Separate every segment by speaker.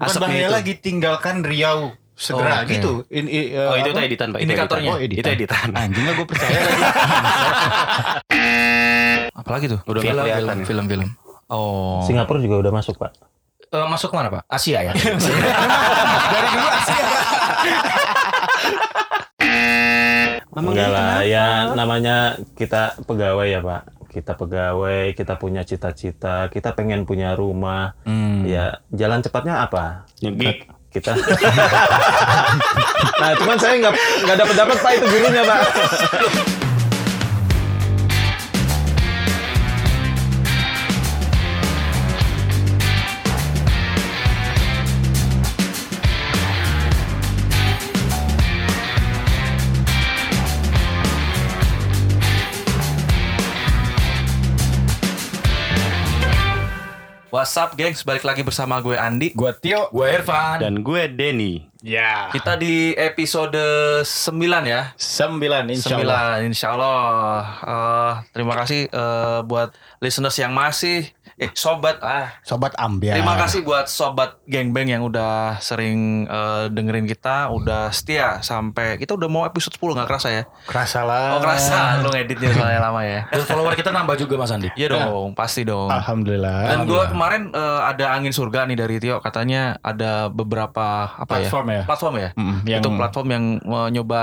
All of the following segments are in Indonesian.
Speaker 1: Bukan bahaya
Speaker 2: itu.
Speaker 1: lagi tinggalkan Riau segera
Speaker 2: Oh, oke.
Speaker 1: gitu. In, i- eh,
Speaker 2: Oh itu
Speaker 1: apa? Oh,
Speaker 2: tuh editan pak.
Speaker 3: Indikatornya.
Speaker 2: Itu editan. Itu editan.
Speaker 3: Anjing lah gue percaya lagi. Apalagi tuh?
Speaker 2: Udah nggak
Speaker 3: film,
Speaker 2: kelihatan
Speaker 3: film,
Speaker 2: ya.
Speaker 3: film, film. Oh.
Speaker 4: Singapura juga udah masuk pak.
Speaker 3: Eh, masuk kemana pak? Asia ya.
Speaker 4: Memang Enggak lah, ya namanya kita pegawai ya pak. Kita pegawai, kita punya cita-cita, kita pengen punya rumah.
Speaker 3: Hmm.
Speaker 4: Ya jalan cepatnya apa?
Speaker 1: Nyebik.
Speaker 4: Kita. nah cuman saya nggak nggak dapat dapat pak itu gurunya pak.
Speaker 3: What's up, gengs? Balik lagi bersama gue Andi.
Speaker 1: Gua Tio
Speaker 3: Gue Irfan.
Speaker 1: dan gue Denny. Ya.
Speaker 3: Kita di episode 9 ya.
Speaker 1: Sembilan insya Allah.
Speaker 3: Sembilan, insya Allah. Eh, terima kasih eh, buat listeners yang masih eh sobat ah
Speaker 5: Sobat
Speaker 2: Ya.
Speaker 5: Ambiar.
Speaker 3: Terima kasih buat sobat Gengbeng yang udah sering eh, dengerin kita, udah setia sampai kita udah mau episode 10 nggak kerasa ya?
Speaker 5: Kerasa
Speaker 3: Oh
Speaker 5: lah.
Speaker 3: kerasa, lu ngeditnya soalnya lama ya.
Speaker 2: Ah. Dan follower kita nambah juga Mas Andi. Ah.
Speaker 3: Iya dong, pasti dong.
Speaker 5: Alhamdulillah.
Speaker 3: Dan gue kemarin eh, ada angin surga nih dari Tio, katanya ada beberapa apa
Speaker 1: Platform ya?
Speaker 3: ya? Platform ya.
Speaker 1: Mm-mm, yang-
Speaker 3: Itu platform yang eh, nyoba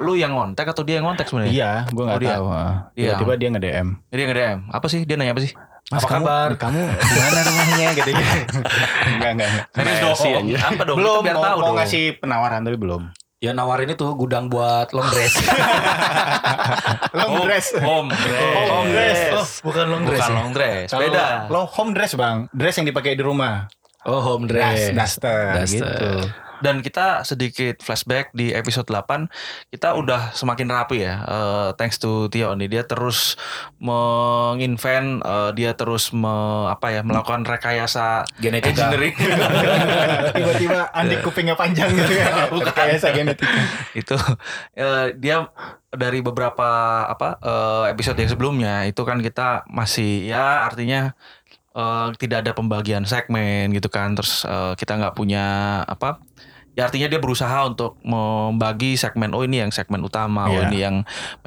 Speaker 3: lu yang ngontek atau dia yang ngontek sebenarnya?
Speaker 1: Iya, gue
Speaker 3: Oh,
Speaker 1: nggak
Speaker 3: dia.
Speaker 1: tahu. ah.
Speaker 3: Iya.
Speaker 1: Tiba-tiba dia nge DM.
Speaker 3: Jadi yang DM. Apa sih? Dia nanya apa sih?
Speaker 5: Mas,
Speaker 3: apa
Speaker 5: kamu-
Speaker 3: kabar?
Speaker 5: Kamu gimana rumahnya gitu.
Speaker 1: Enggak enggak. enggak.
Speaker 3: Serius dong. Oh,
Speaker 2: Messi aja.
Speaker 3: Apa dong?
Speaker 1: belum
Speaker 3: Kita biar
Speaker 1: mau,
Speaker 3: tahu
Speaker 1: mau
Speaker 3: dong. Oh.
Speaker 1: ngasih penawaran tapi belum.
Speaker 2: Ya nawarin itu gudang buat long dress.
Speaker 1: Long
Speaker 3: Om-
Speaker 1: dress.
Speaker 3: Om Oh, dress.
Speaker 1: Oh, long dress. Oh,
Speaker 3: bukan long dress. Bukan long dress.
Speaker 1: Kalau
Speaker 3: Beda.
Speaker 1: Long home dress bang, dress yang dipakai di rumah.
Speaker 2: oh home dress.
Speaker 1: Das- Duster,
Speaker 2: Duster.
Speaker 1: gitu.
Speaker 3: Dan kita sedikit flashback di episode 8 kita udah semakin rapi ya. Eh, thanks to Tio nih dia terus menginvent eh, dia terus me- apa ya melakukan rekayasa
Speaker 2: Genetika.
Speaker 3: engineering.
Speaker 1: Tiba-tiba Andi
Speaker 3: Iya.
Speaker 1: kupingnya panjang gitu ya. Kayak saya genetika.
Speaker 3: itu eh, dia dari beberapa apa eh, episode yang sebelumnya itu kan kita masih ya artinya eh, tidak ada pembagian segmen gitu kan terus eh, kita nggak punya apa ya artinya dia berusaha untuk membagi segmen oh ini yang segmen utama oh
Speaker 1: Iya.
Speaker 3: ini yang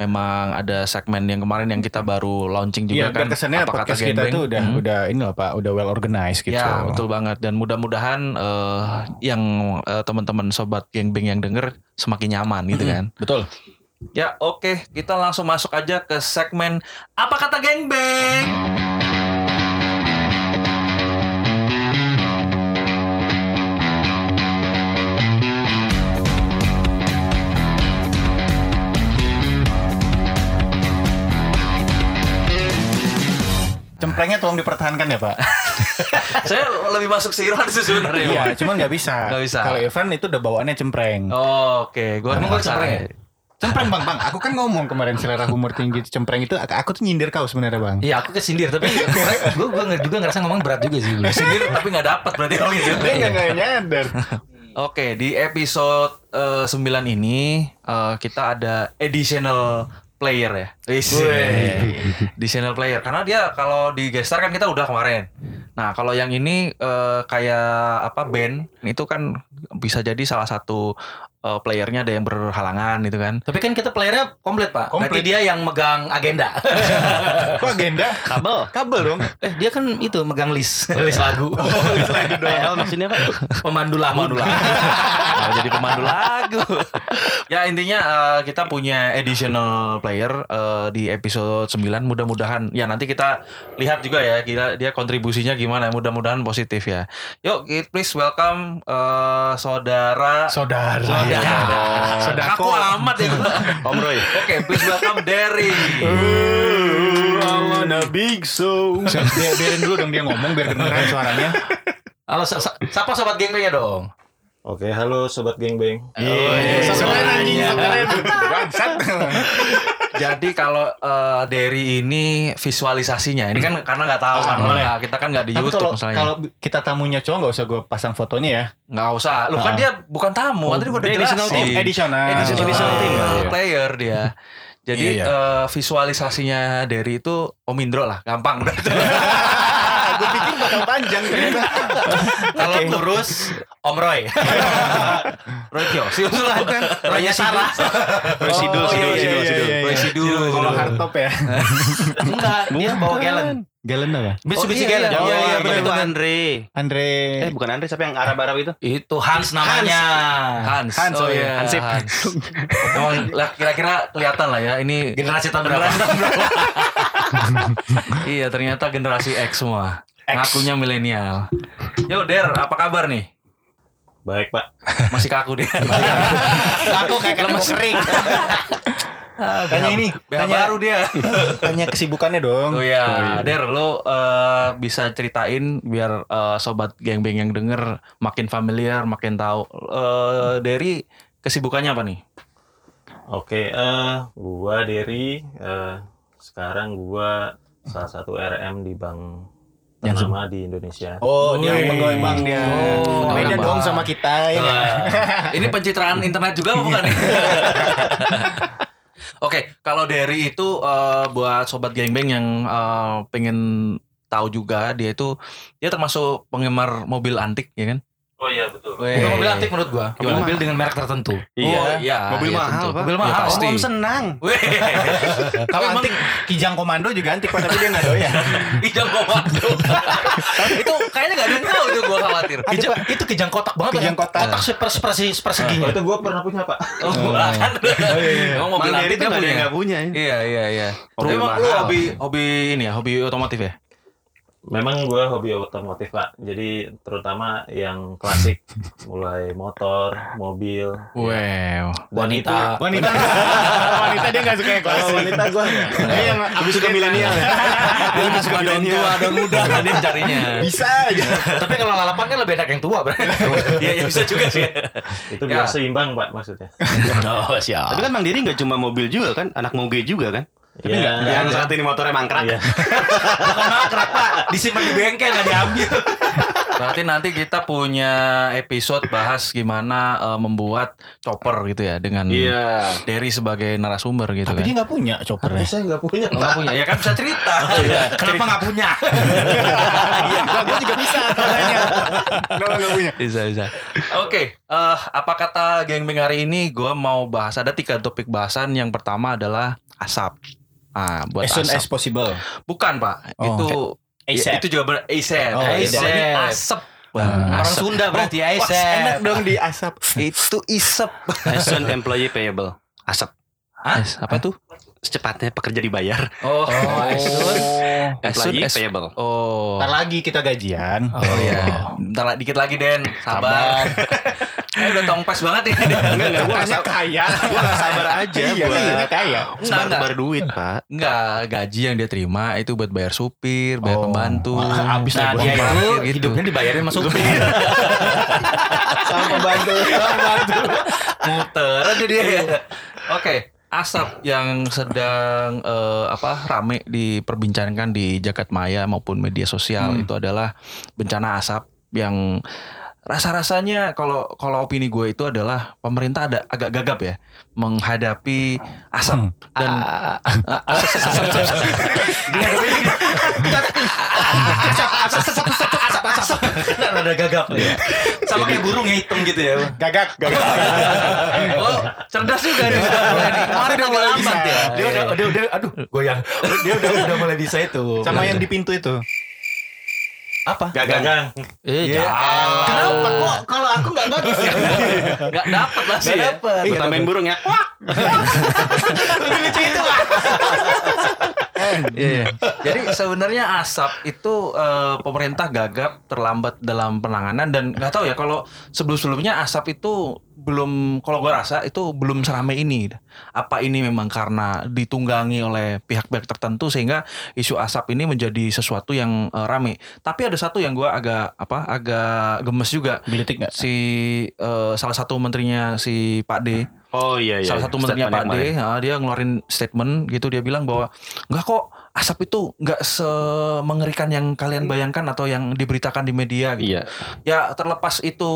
Speaker 3: memang ada segmen yang kemarin yang kita baru launching
Speaker 1: Iya, biar
Speaker 3: juga kan
Speaker 1: kesannya
Speaker 3: Apa Kata
Speaker 1: podcast kita
Speaker 3: Gengbeng?
Speaker 1: tuh udah
Speaker 3: Hmm.
Speaker 1: udah ini loh Pak, udah well organized gitu.
Speaker 3: Ya betul banget dan mudah-mudahan eh, yang eh, teman-teman sobat gengbeng yang denger semakin nyaman gitu kan.
Speaker 1: Betul.
Speaker 3: Ya oke, kita langsung masuk aja ke segmen Apa Kata Gengbeng?
Speaker 1: Cemprengnya tolong dipertahankan ya Pak.
Speaker 3: Saya lebih masuk si Irfan sih sebenarnya.
Speaker 1: Iya, cuman nggak bisa.
Speaker 3: Nggak bisa.
Speaker 1: Kalau Irfan itu udah bawaannya cempreng.
Speaker 3: Oh, oke, gua
Speaker 1: Emang gua
Speaker 3: nggak
Speaker 1: cempreng ya? Cempreng bang, bang. Aku kan ngomong kemarin selera humor tinggi cempreng itu. Aku aku tuh nyindir kau sebenarnya bang.
Speaker 2: Iya aku kesindir tapi gue gue juga ngerasa ngomong berat juga sih. Iya, dulu.
Speaker 3: Sendiri tapi nggak dapat berarti kalau gitu.
Speaker 1: Dia nggak nggak nyadar.
Speaker 3: Oke, di episode eh, 9 ini eh, kita ada additional player ya. Wis. Additional player karena dia kalau di gestar kan kita udah kemarin. Nah, kalau yang ini eh, kayak apa band itu kan bisa jadi salah satu eh, playernya ada yang berhalangan gitu kan.
Speaker 2: Tapi kan kita playernya komplit pak.
Speaker 1: Komplit.
Speaker 2: Berarti dia yang megang agenda.
Speaker 1: Kok agenda?
Speaker 2: Kabel.
Speaker 1: Kabel dong.
Speaker 2: Eh dia kan itu megang list. List lagu.
Speaker 3: Oh, PL Eh, maksudnya apa?
Speaker 2: Pemandu lagu.
Speaker 3: Pemandu lagu. Nah, jadi pemandu lagu. ya intinya eh, kita punya additional player eh, di episode 9 mudah-mudahan ya nanti kita lihat juga ya kira dia kontribusinya gimana mudah-mudahan positif ya. Yuk ki- please welcome eh, saudara
Speaker 1: Saudara.
Speaker 3: Saudara.
Speaker 2: Iya.
Speaker 1: Sodako.
Speaker 3: Aku amat ya. gua.
Speaker 1: Om Roy.
Speaker 3: Oke, please welcome Derry.
Speaker 1: big so. Biarin dulu dong dia ngomong biar kedengeran suaranya.
Speaker 2: Halo, sa- sa- siapa sobat gengnya dong?
Speaker 4: Oke, halo sobat Eh, gengbeng.
Speaker 1: Iya. Soalnya anjing kan. soalnya. Bangsat.
Speaker 3: Jadi kalau eh, Derry ini visualisasinya ini kan karena nggak tahu kan
Speaker 1: Ah, boleh.
Speaker 3: Nah, kita kan nggak di
Speaker 1: Tapi
Speaker 3: YouTube
Speaker 1: kalau
Speaker 3: misalnya.
Speaker 1: kalau kita tamunya cowok nggak usah gue pasang fotonya ya.
Speaker 3: Nggak usah. Lu kan
Speaker 1: Ah.
Speaker 3: dia bukan tamu, tadi gua udah jelasin. Iya,
Speaker 1: Oh, Additional.
Speaker 3: Additional
Speaker 1: team.
Speaker 3: player dia. Jadi
Speaker 1: Iya, iya.
Speaker 3: eh, visualisasinya dari itu Om Indro lah, gampang udah.
Speaker 1: Gue pikir bakal panjang ternyata.
Speaker 3: Kalau kurus Om Roy. Roy Kyo, si usul kan. Roynya Sarah.
Speaker 1: Roy Sidul,
Speaker 3: Oh,
Speaker 1: Sidul,
Speaker 3: iya,
Speaker 1: Sidul,
Speaker 3: iya,
Speaker 1: Sidul.
Speaker 3: iya,
Speaker 1: Roy
Speaker 3: iya. Sidul.
Speaker 1: Kalau hardtop ya.
Speaker 3: Enggak, dia bawa gallon.
Speaker 1: Galen apa?
Speaker 3: Mitsubishi
Speaker 2: iya,
Speaker 3: Gallon.
Speaker 2: iya,
Speaker 3: Iya, iya,
Speaker 2: bener,
Speaker 3: betul.
Speaker 2: bener.
Speaker 5: Andre.
Speaker 1: Andre.
Speaker 5: Eh bukan Andre siapa yang Arab-Arab itu?
Speaker 3: Itu Hans namanya. Hans.
Speaker 1: Hans, oh
Speaker 3: oh
Speaker 1: iya.
Speaker 3: iya.
Speaker 1: Hansip.
Speaker 3: Hans. Emang lah, kira-kira kelihatan lah ya ini generasi tahun berapa? iya, ternyata generasi X semua. Ngakunya milenial. Yo Der, apa kabar nih?
Speaker 4: Baik pak.
Speaker 3: Masih kaku dia.
Speaker 1: Aku kayak lemes Ah, sering. Tanya ini,
Speaker 3: Beha baru dia.
Speaker 1: tanya kesibukannya dong.
Speaker 3: Oh ya, Der, lo eh, bisa ceritain biar eh, sobat geng-beng yang denger makin familiar, makin tahu. Eh, Derry kesibukannya apa nih?
Speaker 4: Oke, eh gua Derry. eh, sekarang gua salah satu RM di bank ternama di Indonesia.
Speaker 1: Oh, dia
Speaker 3: Wih.
Speaker 1: pegawai bank dia.
Speaker 3: Oh,
Speaker 1: Beda
Speaker 3: pegawai
Speaker 1: dong
Speaker 3: bank.
Speaker 1: sama kita
Speaker 3: Iya.
Speaker 1: ya. nggak?
Speaker 3: Wah, Nah, ini pencitraan internet juga apa bukan? Oke, kalau Derry itu eh, buat sobat geng-beng yang eh, pengen tahu juga dia itu dia termasuk penggemar mobil antik ya kan?
Speaker 4: Oh iya betul.
Speaker 3: Bukan mobil antik menurut gua.
Speaker 2: Mobil, mobil dengan merek tertentu.
Speaker 4: Iya.
Speaker 3: Oh, iya.
Speaker 1: Mobil
Speaker 3: iya,
Speaker 1: mahal,
Speaker 3: tentu.
Speaker 1: Pak.
Speaker 3: Mobil
Speaker 2: Ya,
Speaker 3: mahal
Speaker 5: Oh,
Speaker 3: pasti.
Speaker 5: Om senang.
Speaker 3: Weh.
Speaker 1: Kalau
Speaker 3: Emang-
Speaker 1: antik Kijang Komando juga antik Pak, tapi dia enggak doyan.
Speaker 3: Kijang komando. itu kayaknya gak ada yang tahu itu gue khawatir.
Speaker 2: Kejang- itu kejang kotak banget.
Speaker 1: Kejang
Speaker 2: kan?
Speaker 1: kotak.
Speaker 2: Kotak seper sepersi
Speaker 4: Oh,
Speaker 2: seperseginya.
Speaker 4: itu gua pernah punya pak.
Speaker 3: Oh, gua kan. Emang mobil
Speaker 5: Mang
Speaker 3: antik
Speaker 5: Derry
Speaker 3: kan
Speaker 5: tuh nggak ada
Speaker 3: punya.
Speaker 5: yang nggak punya. ya.
Speaker 3: Iya iya iya. Tapi
Speaker 5: Mobil
Speaker 3: emang lu
Speaker 5: mahal.
Speaker 3: hobi hobi ini ya, hobi otomotif ya?
Speaker 4: Memang gua hobi otomotif pak. Jadi terutama yang klasik, mulai motor, mobil,
Speaker 3: Wow.
Speaker 4: dan itu-
Speaker 2: Wanita.
Speaker 1: Wanita wanita dia enggak suka yang
Speaker 4: Kalau
Speaker 1: klasik.
Speaker 2: kan
Speaker 4: wanita gua nggak.
Speaker 1: Dia yang
Speaker 5: Lebih suka milenial ya.
Speaker 3: Dia lebih suka daun tua, daun muda dia carinya.
Speaker 1: Bisa aja.
Speaker 2: Tapi kalau lalapan kan lebih enak yang tua berarti.
Speaker 3: Iya iya bisa juga sih.
Speaker 4: itu
Speaker 3: Ya.
Speaker 4: biar seimbang pak maksudnya.
Speaker 2: Oh, siap.
Speaker 5: Tapi kan Bang Diri nggak cuma mobil juga kan, anak moge juga kan.
Speaker 4: Iya.
Speaker 5: yang saat ini motornya mangkrak.
Speaker 4: Iya.
Speaker 3: Bukan mangkrak pak, disimpan di bengkel nggak diambil. Berarti nanti kita punya episode bahas gimana eh, membuat chopper gitu ya dengan Derry sebagai narasumber gitu
Speaker 1: Tapi
Speaker 3: kan.
Speaker 1: dia enggak punya choppernya.
Speaker 4: Saya nggak punya.
Speaker 3: Kalau punya ya kan bisa cerita. Kenapa nggak punya? Iya.
Speaker 1: Nah, gue juga bisa tanya. Kenapa nggak punya?
Speaker 3: bisa bisa. Oke, eh, apa kata geng Beng hari ini? Gue mau bahas ada tiga topik bahasan. Yang pertama adalah asap. Ah, buat
Speaker 1: As soon
Speaker 3: asap.
Speaker 1: as possible.
Speaker 3: Bukan pak,
Speaker 1: Oh.
Speaker 3: itu ya,
Speaker 5: ASAP.
Speaker 3: itu juga ber ASAP.
Speaker 1: Oh,
Speaker 3: Jadi
Speaker 2: ASAP.
Speaker 3: iya. asap.
Speaker 2: Orang
Speaker 3: Asap.
Speaker 2: Sunda berarti
Speaker 1: Iya,
Speaker 2: ya,
Speaker 3: Wah,
Speaker 2: Isep.
Speaker 3: enak
Speaker 1: dong di asap.
Speaker 3: Itu isep.
Speaker 5: Assume employee payable. Asap.
Speaker 3: Hah? Apa tuh?
Speaker 5: Secepatnya pekerja dibayar.
Speaker 3: Oh,
Speaker 5: Employee payable.
Speaker 3: Oh.
Speaker 1: Ntar lagi kita gajian.
Speaker 3: Oh iya. Bentar lah, dikit lagi Den. Sabar. Eh udah tongpes banget ini.
Speaker 5: Enggak, enggak, gua
Speaker 1: Tanya
Speaker 5: asap.
Speaker 1: kaya.
Speaker 5: Gua nggak sabar aja
Speaker 1: Iya,
Speaker 5: buat
Speaker 1: iya, kaya.
Speaker 3: Enggak, enggak.
Speaker 5: sebar-sebar duit, Pak.
Speaker 3: Enggak, gaji yang dia terima itu buat bayar supir, bayar
Speaker 1: Oh.
Speaker 3: pembantu.
Speaker 1: Ah, abis
Speaker 3: nah,
Speaker 1: deh,
Speaker 3: dia
Speaker 1: gua.
Speaker 3: itu hidupnya dibayarin sama supir.
Speaker 1: Sama pembantu.
Speaker 2: Nah,
Speaker 3: Muter aja dia. ya. Oke, asap yang sedang eh, apa rame diperbincangkan di jagat maya maupun media sosial itu adalah bencana asap yang rasa-rasanya kalau kalau opini gue itu adalah pemerintah ada agak gagap ya menghadapi asap dan
Speaker 2: Kan ada gagap.
Speaker 3: sama kayak burung ngitung gitu ya.
Speaker 1: Gagak, gagak.
Speaker 3: Oh, cerdas juga nih. Kemarin udah mulai
Speaker 1: bisa.
Speaker 3: lambat ya.
Speaker 2: Dia udah, dia udah, aduh, goyang. Dia udah, udah mulai bisa itu.
Speaker 1: Sama yang di pintu itu.
Speaker 2: apa?
Speaker 4: Gagang.
Speaker 3: Iya.
Speaker 2: Eh,
Speaker 1: Kenapa kok kalau aku nggak bagus ya?
Speaker 3: Gak dapet lah sih.
Speaker 2: Gak
Speaker 3: ya.
Speaker 2: dapet.
Speaker 5: Gua tambahin burung ya.
Speaker 3: Iya. iya. Jadi sebenarnya asap itu eh, pemerintah gagap terlambat dalam penanganan dan nggak tahu ya kalau sebelum-sebelumnya asap itu belum kalau gue rasa itu belum serame ini. Apa ini memang karena ditunggangi oleh pihak-pihak tertentu sehingga isu asap ini menjadi sesuatu yang eh, rame. Tapi ada satu yang gue agak apa agak gemes juga
Speaker 1: Gelitik nggak?
Speaker 3: si eh, salah satu menterinya si Pak D
Speaker 5: Oh iya iya.
Speaker 3: salah satu menterinya Pak D, ah, dia ngeluarin statement gitu dia bilang bahwa nggak kok asap itu nggak semengerikan yang kalian bayangkan atau yang diberitakan di media gitu.
Speaker 5: Iya.
Speaker 3: Ya terlepas itu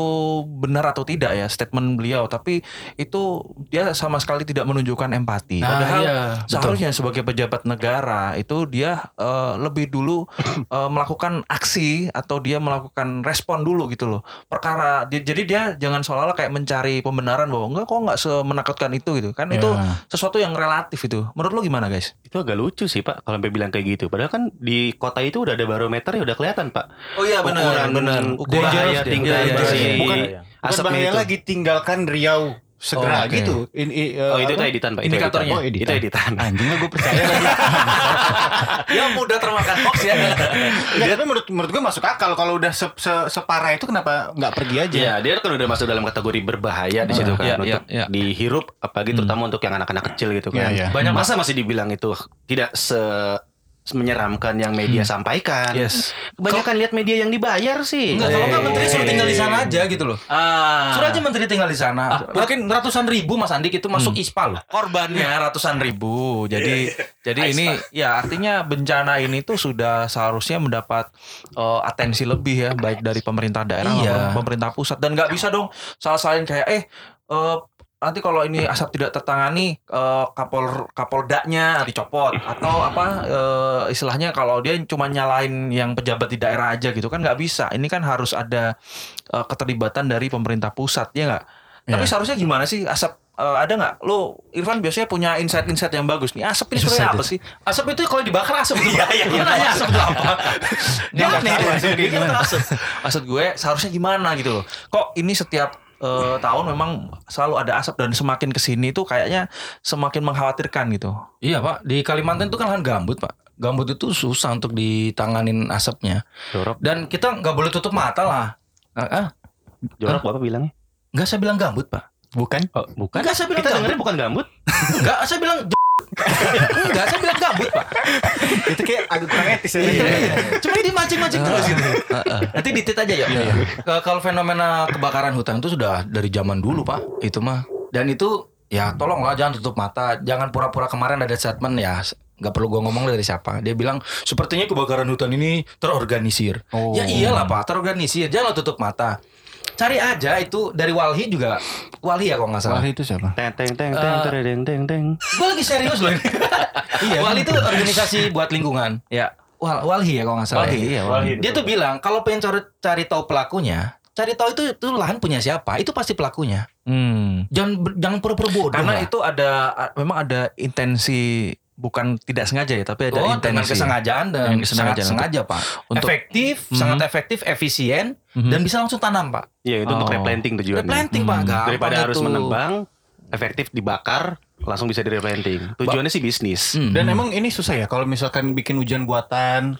Speaker 3: benar atau tidak ya statement beliau, tapi itu dia sama sekali tidak menunjukkan empati.
Speaker 1: Nah,
Speaker 3: Padahal
Speaker 1: iya,
Speaker 3: seharusnya sebagai pejabat negara itu dia eh, lebih dulu eh, melakukan aksi atau dia melakukan respon dulu gitu loh. Perkara di- jadi dia jangan seolah-olah kayak mencari pembenaran bahwa enggak kok nggak semenakutkan itu gitu. Kan itu
Speaker 1: Ya.
Speaker 3: sesuatu yang relatif itu. Menurut lo gimana guys?
Speaker 5: Itu agak lucu sih Pak kalau sampai bilang kayak gitu. Padahal kan di kota itu udah ada barometer ya udah kelihatan Pak.
Speaker 3: Oh iya
Speaker 5: benar, benar.
Speaker 3: Ukuran
Speaker 5: Bahaya
Speaker 3: dia.
Speaker 5: tinggal
Speaker 3: Iya,
Speaker 5: di
Speaker 3: iya,
Speaker 5: sini.
Speaker 3: iya.
Speaker 1: Bukan- Asapnya
Speaker 5: Asapnya
Speaker 1: bahaya
Speaker 5: itu.
Speaker 1: lagi tinggalkan Riau segera
Speaker 3: Oh, oke.
Speaker 1: gitu. In, i, eh,
Speaker 5: Oh itu
Speaker 1: apa?
Speaker 5: tuh editan Pak. Itu
Speaker 3: Indikatornya.
Speaker 5: editan. Itu editan.
Speaker 1: Anjingnya gue percaya lagi.
Speaker 3: Ya mudah termakan hoax ya.
Speaker 1: Nggak, Iya, tapi menurut menurut gue masuk akal kalau udah se, se- separah itu kenapa nggak pergi aja?
Speaker 5: Iya, dia kan udah masuk dalam kategori berbahaya di situ kan
Speaker 3: Iya,
Speaker 5: untuk
Speaker 3: iya, iya.
Speaker 5: dihirup
Speaker 2: Hmm.
Speaker 5: apalagi terutama untuk yang anak-anak kecil gitu kan.
Speaker 1: Iya, iya.
Speaker 5: Banyak masa masih dibilang itu tidak se menyeramkan yang media
Speaker 2: Hmm.
Speaker 5: sampaikan.
Speaker 3: Yes.
Speaker 5: Kebanyakan lihat media yang dibayar sih.
Speaker 2: Enggak, kalau enggak menteri suruh
Speaker 5: Eh.
Speaker 2: tinggal di sana aja gitu loh.
Speaker 3: Ah.
Speaker 2: Suruh aja menteri tinggal di sana. Mungkin ratusan ribu Mas Andi
Speaker 3: gitu,
Speaker 2: itu masuk ISPA loh.
Speaker 3: korbannya Iya, ratusan ribu. Jadi jadi ini ya artinya bencana ini tuh sudah seharusnya mendapat eh, atensi lebih ya baik dari pemerintah daerah
Speaker 2: Iya.
Speaker 3: maupun pemerintah pusat dan nggak bisa dong salah-salahin kayak eh eh, nanti kalau ini asap tidak tertangani eh, kapol kapoldaknya dicopot atau apa eh, istilahnya kalau dia cuma nyalain yang pejabat di daerah aja gitu kan nggak bisa. Ini kan harus ada eh, keterlibatan dari pemerintah pusat ya nggak? Tapi seharusnya gimana sih asap eh, ada nggak? Lo Irfan biasanya punya insight-insight yang bagus nih. Asap ini sebenarnya apa sih?
Speaker 2: Asap itu kalau dibakar asap itu.
Speaker 3: Iya, nanya asap itu apa? kan Nggak
Speaker 1: Nggak tahu
Speaker 3: tahu asap
Speaker 1: asap dia
Speaker 3: gimana. Maksud gue seharusnya gimana gitu loh. Kok ini setiap eh, tahun memang selalu ada asap dan semakin kesini tuh kayaknya semakin mengkhawatirkan gitu.
Speaker 2: Iya Pak, di Kalimantan itu kan lahan gambut Pak. Gambut itu susah untuk ditanganin asapnya.
Speaker 5: Jorok,
Speaker 2: Dan kita nggak boleh tutup mata lah. Ah, ah,
Speaker 5: jorok Bapak bilangnya.
Speaker 2: nggak saya bilang gambut Pak.
Speaker 1: Bukan?
Speaker 5: Oh, bukan.
Speaker 2: Enggak, saya bilang
Speaker 5: Kita
Speaker 2: gambut.
Speaker 5: dengerin bukan gambut.
Speaker 2: Enggak, saya bilang Enggak, saya bilang gambut Pak.
Speaker 1: itu kayak agak kurang etis ya.
Speaker 2: Iya. Cuma dimancing-mancing terus gitu. Nanti ditit aja ya. Ke- Kalau fenomena kebakaran hutan itu sudah dari zaman dulu Pak, itu mah. Dan itu ya tolonglah jangan tutup mata, jangan pura-pura kemarin ada statement ya nggak perlu gua ngomong dari siapa. Dia bilang sepertinya kebakaran hutan ini terorganisir.
Speaker 1: Oh.
Speaker 2: Ya iyalah Pak, terorganisir. Jangan tutup mata. Cari aja itu dari Walhi juga. Walhi ya kalau nggak salah.
Speaker 1: Wah itu siapa?
Speaker 5: Teng teng teng
Speaker 2: teng,
Speaker 5: teng teng teng.
Speaker 2: Gue lagi serius loh ini. iya. Wali itu organisasi buat lingkungan. Ya. Wal Walhi ya kalau nggak salah. ya.
Speaker 4: Iya,
Speaker 2: Dia tuh bilang kalau pengen cari, cari tahu pelakunya, cari tahu itu itu lahan punya siapa, itu pasti pelakunya.
Speaker 3: Hmm.
Speaker 2: Jangan ber- jangan pura-pura bodoh. Nah,
Speaker 3: Karena
Speaker 2: lah.
Speaker 3: itu ada a- memang ada intensi bukan tidak sengaja ya, tapi ada
Speaker 2: oh, dengan
Speaker 3: intensi.
Speaker 2: kesengajaan
Speaker 3: Dengan
Speaker 2: dan
Speaker 3: kesengajaan
Speaker 2: sangat sengaja pak.
Speaker 3: Untuk-
Speaker 2: efektif,
Speaker 3: Mhm.
Speaker 2: sangat efektif, efisien
Speaker 3: Mhm.
Speaker 2: dan bisa langsung tanam pak.
Speaker 5: Iya, itu untuk
Speaker 3: Oh.
Speaker 5: replanting tujuannya.
Speaker 2: Replanting pak,
Speaker 3: Mhm.
Speaker 2: gampang
Speaker 5: Daripada harus
Speaker 2: itu.
Speaker 5: menebang, efektif dibakar, langsung bisa direplanting. Tujuannya sih bisnis.
Speaker 2: Hmm.
Speaker 1: Dan emang ini susah ya kalau misalkan bikin hujan buatan.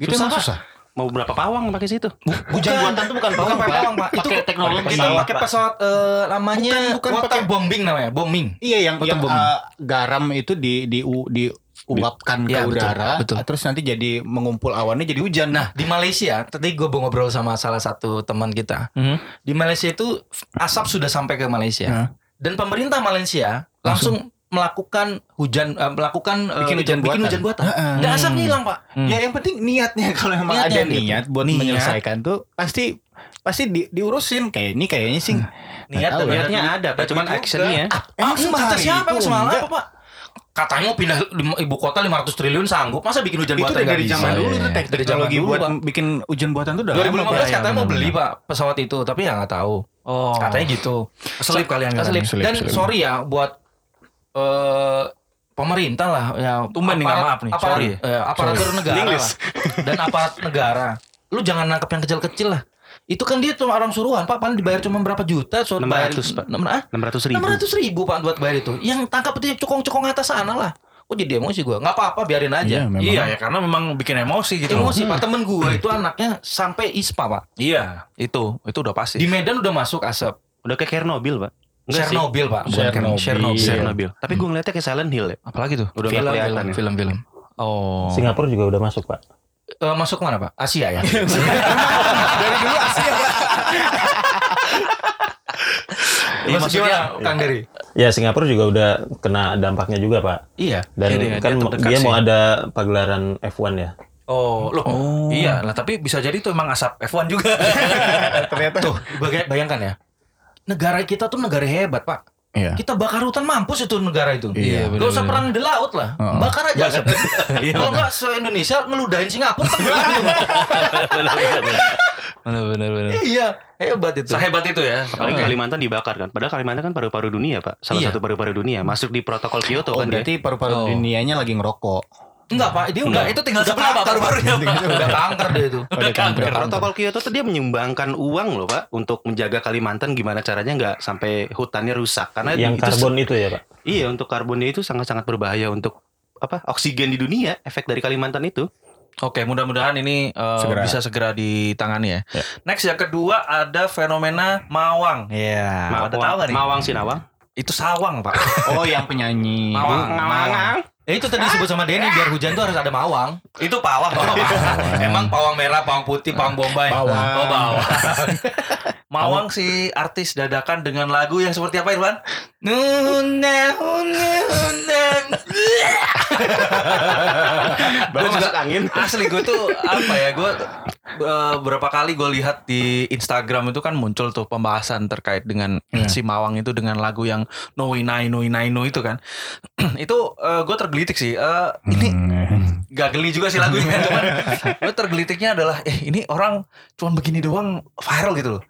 Speaker 1: Gitu
Speaker 5: Susah,
Speaker 1: emang
Speaker 5: Pak.
Speaker 1: susah.
Speaker 5: Mau berapa pawang pakai situ?
Speaker 2: Hujan buatan
Speaker 5: itu bukan
Speaker 2: Bukan pakai pawang, Pak. Itu
Speaker 5: Pakai teknologi.
Speaker 2: kita pakai
Speaker 5: Pak.
Speaker 2: pesawat eh, namanya
Speaker 1: Bukan, bukan
Speaker 2: water
Speaker 1: pakai-
Speaker 2: bombing namanya, bombing.
Speaker 1: Iya yang
Speaker 2: Betul,
Speaker 1: yang
Speaker 2: Bung.
Speaker 1: eh, garam itu di di u- diuapkan
Speaker 2: Iya,
Speaker 1: ke
Speaker 2: betul,
Speaker 1: udara,
Speaker 2: betul.
Speaker 1: terus nanti jadi mengumpul awannya jadi hujan.
Speaker 2: Nah di Malaysia tadi gue ngobrol sama salah satu teman kita
Speaker 3: Mhm.
Speaker 2: di Malaysia itu asap sudah sampai ke Malaysia
Speaker 1: Nah.
Speaker 2: dan pemerintah Malaysia langsung, melakukan hujan eh, melakukan eh,
Speaker 1: Bikin hujan buatan.
Speaker 2: hujan buatan.
Speaker 1: Heeh.
Speaker 2: Dan asapnya hilang pak.
Speaker 1: Ya yang penting niatnya kalau emang ada
Speaker 2: Niatnya gitu.
Speaker 1: niat buat
Speaker 2: Niat.
Speaker 1: menyelesaikan tuh pasti pasti di- diurusin kayak ini kayaknya sih.
Speaker 2: Hmm. Niat
Speaker 1: Nggak tahu
Speaker 2: dan
Speaker 1: ya.
Speaker 5: Niatnya ada, Pak. Cuman
Speaker 2: Juga.
Speaker 5: actionnya.
Speaker 2: Ah,
Speaker 1: Emang
Speaker 2: kata
Speaker 1: sehari
Speaker 2: siapa yang
Speaker 1: itu
Speaker 2: semalam
Speaker 1: enggak?
Speaker 2: apa pak? Katanya mau pindah lim- ibu kota 500 triliun sanggup masa bikin hujan
Speaker 1: itu
Speaker 2: buatan
Speaker 1: dari
Speaker 2: nggak
Speaker 1: zaman
Speaker 2: bisa?
Speaker 1: dulu
Speaker 2: Iya,
Speaker 1: tuh
Speaker 2: iya.
Speaker 1: tek-
Speaker 2: Dari zaman
Speaker 1: teknologi
Speaker 2: dulu,
Speaker 1: buat
Speaker 2: Pak.
Speaker 1: bikin hujan buatan tuh udah lama, Pak.
Speaker 2: 2015
Speaker 1: ya.
Speaker 2: katanya mau beli pak pesawat itu tapi ya nggak tahu.
Speaker 3: Oh.
Speaker 2: Katanya gitu.
Speaker 3: Keselip kalian, kalian.
Speaker 2: Keselip.
Speaker 1: Keselip,
Speaker 2: Dan
Speaker 1: keselip.
Speaker 2: sorry ya buat eh, pemerintah lah ya
Speaker 3: Tumben nih, nggak maaf nih,
Speaker 2: aparat-
Speaker 3: sorry.
Speaker 2: eh, aparatur negara
Speaker 5: English.
Speaker 2: lah. dan aparat negara. Lu jangan nangkep yang kecil-kecil lah. Itu kan dia cuma orang suruhan, Pak. Paling dibayar cuma berapa juta? Suruh
Speaker 5: 600, Pak.
Speaker 2: Pak.
Speaker 5: 600 ribu.
Speaker 2: Enam ratus ribu Pak buat bayar itu. Yang tangkap itu yang cukong-cukong atas sana lah. Kok jadi emosi gua? Nggak apa-apa, biarin aja.
Speaker 1: Iya, memang.
Speaker 3: Iya ya karena memang bikin emosi gitu.
Speaker 2: emosi Pak. Temen gua itu anaknya sampai ISPA Pak.
Speaker 3: Iya itu itu udah pasti.
Speaker 2: Di Medan udah masuk asap.
Speaker 5: Udah kayak Chernobyl, Pak. Enggak sih?
Speaker 2: Chernobyl Pak. Bukan
Speaker 1: Chernobyl.
Speaker 2: Chernobyl.
Speaker 5: Chernobyl. Tapi gue ngeliatnya kayak Silent Hill ya.
Speaker 3: Apalagi tuh.
Speaker 5: Udah nggak kelihatan ya.
Speaker 2: film-film.
Speaker 3: Oh.
Speaker 4: Singapura juga udah masuk pak.
Speaker 2: Eh, masuk mana pak? Asia ya.
Speaker 1: Dari dulu asli ya, Pak.
Speaker 2: Iya, maksudnya Kang Dery.
Speaker 4: Ya Singapura juga udah kena dampaknya juga Pak.
Speaker 2: Iya.
Speaker 4: Dan
Speaker 3: Iya, dia-
Speaker 4: kan
Speaker 3: dia
Speaker 4: mo-
Speaker 3: terdekat
Speaker 4: dia, mau
Speaker 3: sih.
Speaker 4: ada pagelaran F1 ya.
Speaker 3: Oh, loh. Iya, lah tapi bisa jadi itu emang asap F1 juga.
Speaker 1: Ternyata
Speaker 2: Tuh, baga- bayangkan ya. Negara kita tuh negara hebat, Pak.
Speaker 1: Iya.
Speaker 2: Kita bakar hutan mampus itu negara itu.
Speaker 1: Iya,
Speaker 2: Gak usah perang di laut lah.
Speaker 1: Heeh.
Speaker 2: Bakar aja. asap. Kalau nggak se-Indonesia ngeludahin Singapura kan? tenggelam itu.
Speaker 6: Benar benar benar.
Speaker 2: Iya, hebat itu.
Speaker 3: Sehebat itu ya.
Speaker 5: Apalagi Kalimantan dibakar kan. Padahal Kalimantan kan paru-paru dunia, Pak. Salah
Speaker 2: Iya.
Speaker 5: satu paru-paru dunia. Masuk di protokol Kyoto
Speaker 1: Oh,
Speaker 5: kan dia.
Speaker 1: berarti paru-paru
Speaker 2: Oh.
Speaker 1: dunianya lagi ngerokok.
Speaker 2: Enggak, Pak. Dia enggak. Itu tinggal sebelah, Pak. Baru-barunya. Udah kanker Oh, dia itu.
Speaker 1: Ada kanker.
Speaker 5: Nah, Protokol Kyoto tuh dia menyumbangkan uang loh, Pak, untuk menjaga Kalimantan gimana caranya nggak sampai hutannya rusak. Karena
Speaker 4: Yang
Speaker 5: Nah, itu-
Speaker 4: karbon itu ya Pak.
Speaker 5: Iya, untuk karbonnya itu sangat-sangat berbahaya untuk apa? Oksigen di dunia, efek dari Kalimantan itu.
Speaker 3: Oke, mudah-mudahan ini eh,
Speaker 1: Segera.
Speaker 3: bisa segera ditangani ya. Next yang kedua ada fenomena Mawang. Iya.
Speaker 5: Mawang,
Speaker 3: Ada tahu nggak nih?
Speaker 5: Mawang Sinawang.
Speaker 3: Itu sawang, Pak.
Speaker 1: Oh, yang penyanyi.
Speaker 3: Mawang. Mawang. Ya, itu tadi disebut sama Denny biar hujan tuh harus ada mawang. Itu pawang. Pak. Emang pawang merah, pawang putih, pawang bombay.
Speaker 1: Bawang.
Speaker 3: Oh, bawang. Mawang si artis dadakan dengan lagu yang seperti apa Irwan? Nuna, nuna, nuna. Gua
Speaker 5: Baru
Speaker 3: juga-
Speaker 5: masuk angin.
Speaker 3: Asli gue tuh apa ya gue berapa kali gue lihat di Instagram itu kan muncul tuh pembahasan terkait dengan
Speaker 1: Iya.
Speaker 3: si Mawang itu dengan lagu yang No Inai No Inai No itu kan itu gue tergelitik sih Eh, ini
Speaker 1: Hmm.
Speaker 3: gak geli juga sih lagunya cuman gue tergelitiknya adalah eh ini orang cuman begini doang viral gitu loh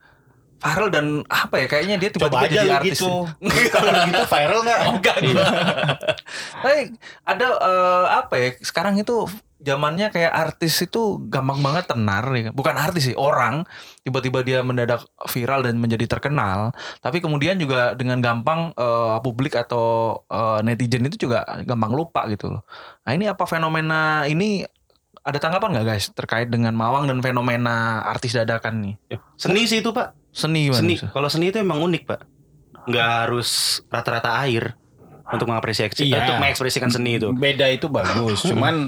Speaker 3: viral dan apa ya kayaknya dia
Speaker 1: Coba
Speaker 3: tiba-tiba
Speaker 1: aja
Speaker 3: jadi
Speaker 1: lu
Speaker 3: artis
Speaker 1: gitu.
Speaker 3: nih.
Speaker 1: Kalau gitu viral nggak?
Speaker 3: Oh, enggak enggak. Tapi ada eh, apa ya? Sekarang itu zamannya kayak artis itu gampang banget tenar ya. Bukan artis sih, orang tiba-tiba dia mendadak viral dan menjadi terkenal, tapi kemudian juga dengan gampang eh, publik atau eh, netizen itu juga gampang lupa gitu loh. Nah, ini apa fenomena ini ada tanggapan nggak guys terkait dengan Mawang dan fenomena artis dadakan nih?
Speaker 5: Seni sih itu, Pak.
Speaker 3: Seni gimana?
Speaker 5: Seni. Kalau seni itu emang unik, Pak. Nggak harus rata-rata air untuk mengapresiasi
Speaker 1: Iya.
Speaker 5: untuk mengekspresikan seni itu.
Speaker 1: Beda itu bagus, cuman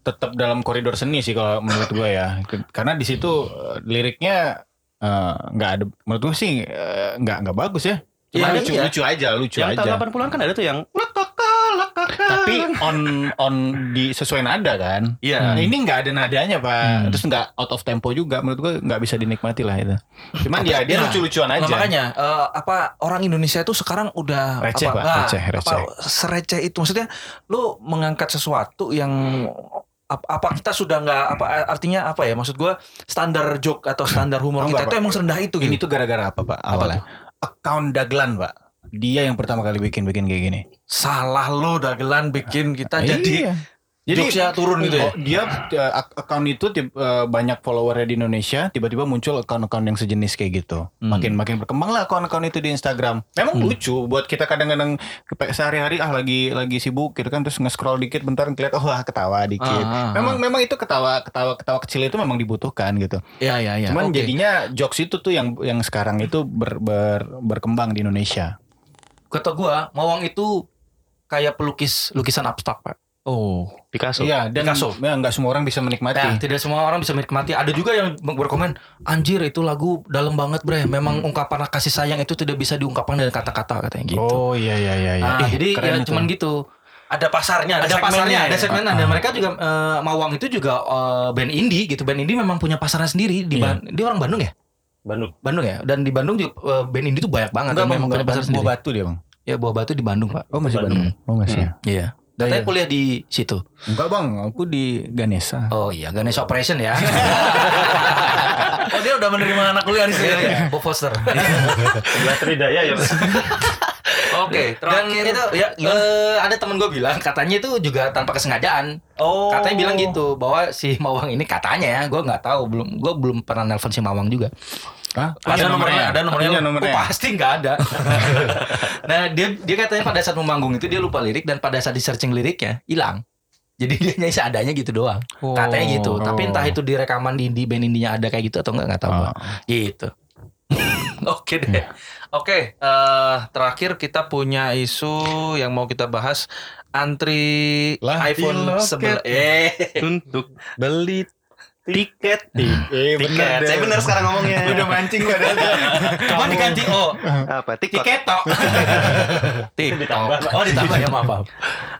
Speaker 1: tetap dalam koridor seni sih kalau menurut gue ya. Ke- Karena di situ eh, liriknya eh, nggak ada menurut gue sih eh, nggak nggak bagus ya. Cuma
Speaker 5: Iya,
Speaker 1: lucu,
Speaker 5: iya.
Speaker 1: lucu aja, lucu
Speaker 5: Yang
Speaker 1: aja.
Speaker 5: tahun 80-an kan ada tuh yang lekaka, lekaka.
Speaker 1: Tapi on on di sesuai nada kan.
Speaker 3: Iya.
Speaker 1: Nah, Ini nggak ada nadanya pak, terus nggak out of tempo juga menurut gue nggak bisa dinikmati lah itu. Cuman dia dia
Speaker 3: Nah,
Speaker 1: lucu-lucuan
Speaker 3: Nah,
Speaker 1: aja.
Speaker 3: makanya eh, apa orang Indonesia itu sekarang udah
Speaker 1: Receh,
Speaker 3: apa,
Speaker 1: Pak.
Speaker 3: nah,
Speaker 1: Receh,
Speaker 3: apa,
Speaker 1: receh.
Speaker 3: sereceh itu maksudnya lu mengangkat sesuatu yang ap- apa kita sudah nggak apa artinya apa ya maksud gua standar joke atau standar humor
Speaker 1: Tahu
Speaker 3: kita
Speaker 1: nggak,
Speaker 3: itu
Speaker 1: Pak?
Speaker 3: emang serendah itu
Speaker 1: Ini
Speaker 3: gitu.
Speaker 1: tuh gara-gara Hmm. apa pak? Awalnya account Daglan pak. Dia yang pertama kali bikin-bikin kayak gini.
Speaker 3: Salah lu dagelan bikin kita jadi
Speaker 1: Iya. Jadi
Speaker 3: jokesnya turun gitu ya.
Speaker 1: oh, dia eh, ak- account itu tip- eh, banyak followernya di Indonesia, tiba-tiba muncul account-account yang sejenis kayak gitu. Makin makin berkembang lah account-account itu di Instagram. Memang lucu buat kita kadang-kadang kepe- sehari-hari ah lagi lagi sibuk gitu kan terus nge-scroll dikit bentar ngeliat oh ah, ketawa dikit.
Speaker 3: Ah, ah,
Speaker 1: memang memang itu ketawa ketawa ketawa kecil itu memang dibutuhkan gitu.
Speaker 3: Iya iya iya.
Speaker 1: Cuman
Speaker 3: Oke.
Speaker 1: jadinya jokes itu tuh yang yang sekarang itu ber- ber- berkembang di Indonesia.
Speaker 2: Kata gua, Mawang itu kayak pelukis lukisan abstrak, Pak.
Speaker 3: Oh.
Speaker 5: Picasso.
Speaker 1: Iya, dan
Speaker 2: Picasso.
Speaker 1: ya, nggak semua orang bisa
Speaker 2: Nah,
Speaker 1: menikmati.
Speaker 2: tidak semua orang bisa menikmati. Ada juga yang berkomen, "Anjir, itu lagu dalam banget, Bre. Memang
Speaker 1: Hmm.
Speaker 2: ungkapan kasih sayang itu tidak bisa diungkapkan dengan kata-kata," katanya gitu.
Speaker 1: Oh iya iya iya iya.
Speaker 2: Nah,
Speaker 1: Ih,
Speaker 2: jadi
Speaker 1: keren
Speaker 2: ya
Speaker 1: itu.
Speaker 2: cuman gitu.
Speaker 3: Ada pasarnya, ada,
Speaker 2: Ada, pasarnya,
Speaker 1: ya?
Speaker 2: ada
Speaker 3: segmennya.
Speaker 2: segmen,
Speaker 1: Ah.
Speaker 2: ada mereka juga eh, Mawang itu juga eh, band indie gitu. Band indie memang punya pasarnya sendiri di
Speaker 1: Iya.
Speaker 2: Ban- dia orang Bandung ya?
Speaker 4: Bandung.
Speaker 2: Bandung ya. Dan di Bandung juga eh, band indie itu banyak banget
Speaker 1: Enggak,
Speaker 2: yang
Speaker 1: bang,
Speaker 2: memang
Speaker 1: bukan
Speaker 2: punya pasar
Speaker 1: buah
Speaker 2: sendiri.
Speaker 1: batu dia bang.
Speaker 2: Ya, Buah Batu di Bandung, Pak.
Speaker 1: Oh masih Bandung. Oh masih. ya.
Speaker 2: Iya. Katanya
Speaker 1: Iya.
Speaker 2: kuliah di situ.
Speaker 1: Enggak bang, aku di Ganesha.
Speaker 2: Oh iya, Ganesh Operation ya.
Speaker 3: Oh, dia udah menerima anak kuliah di sini.
Speaker 2: Iya, Bob Foster.
Speaker 4: Sebelah Tridaya ya Pak.
Speaker 3: Oke,
Speaker 2: Dan
Speaker 3: terakhir
Speaker 2: itu ya, eh, ada temen gue bilang katanya itu juga tanpa kesengajaan.
Speaker 3: Oh.
Speaker 2: Katanya bilang gitu bahwa si Mawang ini katanya ya, gue nggak tahu belum, gue belum pernah nelpon si Mawang juga.
Speaker 1: Hah?
Speaker 2: Ada nomornya, ada nomornya.
Speaker 1: Ada
Speaker 2: Oh,
Speaker 1: nomornya.
Speaker 2: pasti nggak ada. nah dia dia katanya pada saat memanggung itu dia lupa lirik dan pada saat di searching liriknya hilang. Jadi dia nyanyi seadanya gitu doang. Katanya gitu. Tapi entah itu di rekaman di, di band indinya ada kayak gitu atau nggak nggak tahu. gua.
Speaker 1: Oh.
Speaker 2: Gitu.
Speaker 3: Oke deh.
Speaker 1: Iya.
Speaker 3: Oke, eh, terakhir kita punya isu yang mau kita bahas antri
Speaker 1: Lah,
Speaker 3: iPhone
Speaker 1: di loket.
Speaker 3: 11. Eh,
Speaker 5: Untuk
Speaker 4: Beli
Speaker 5: tiket
Speaker 1: Eh,
Speaker 5: tiket saya benar sekarang ngomongnya
Speaker 2: Udah mancing padahal. Cuma diganti O.
Speaker 5: apa tiket
Speaker 2: Tiketok.
Speaker 4: ditambah.
Speaker 2: Tiktok. Oh ditambah ya maaf. maaf.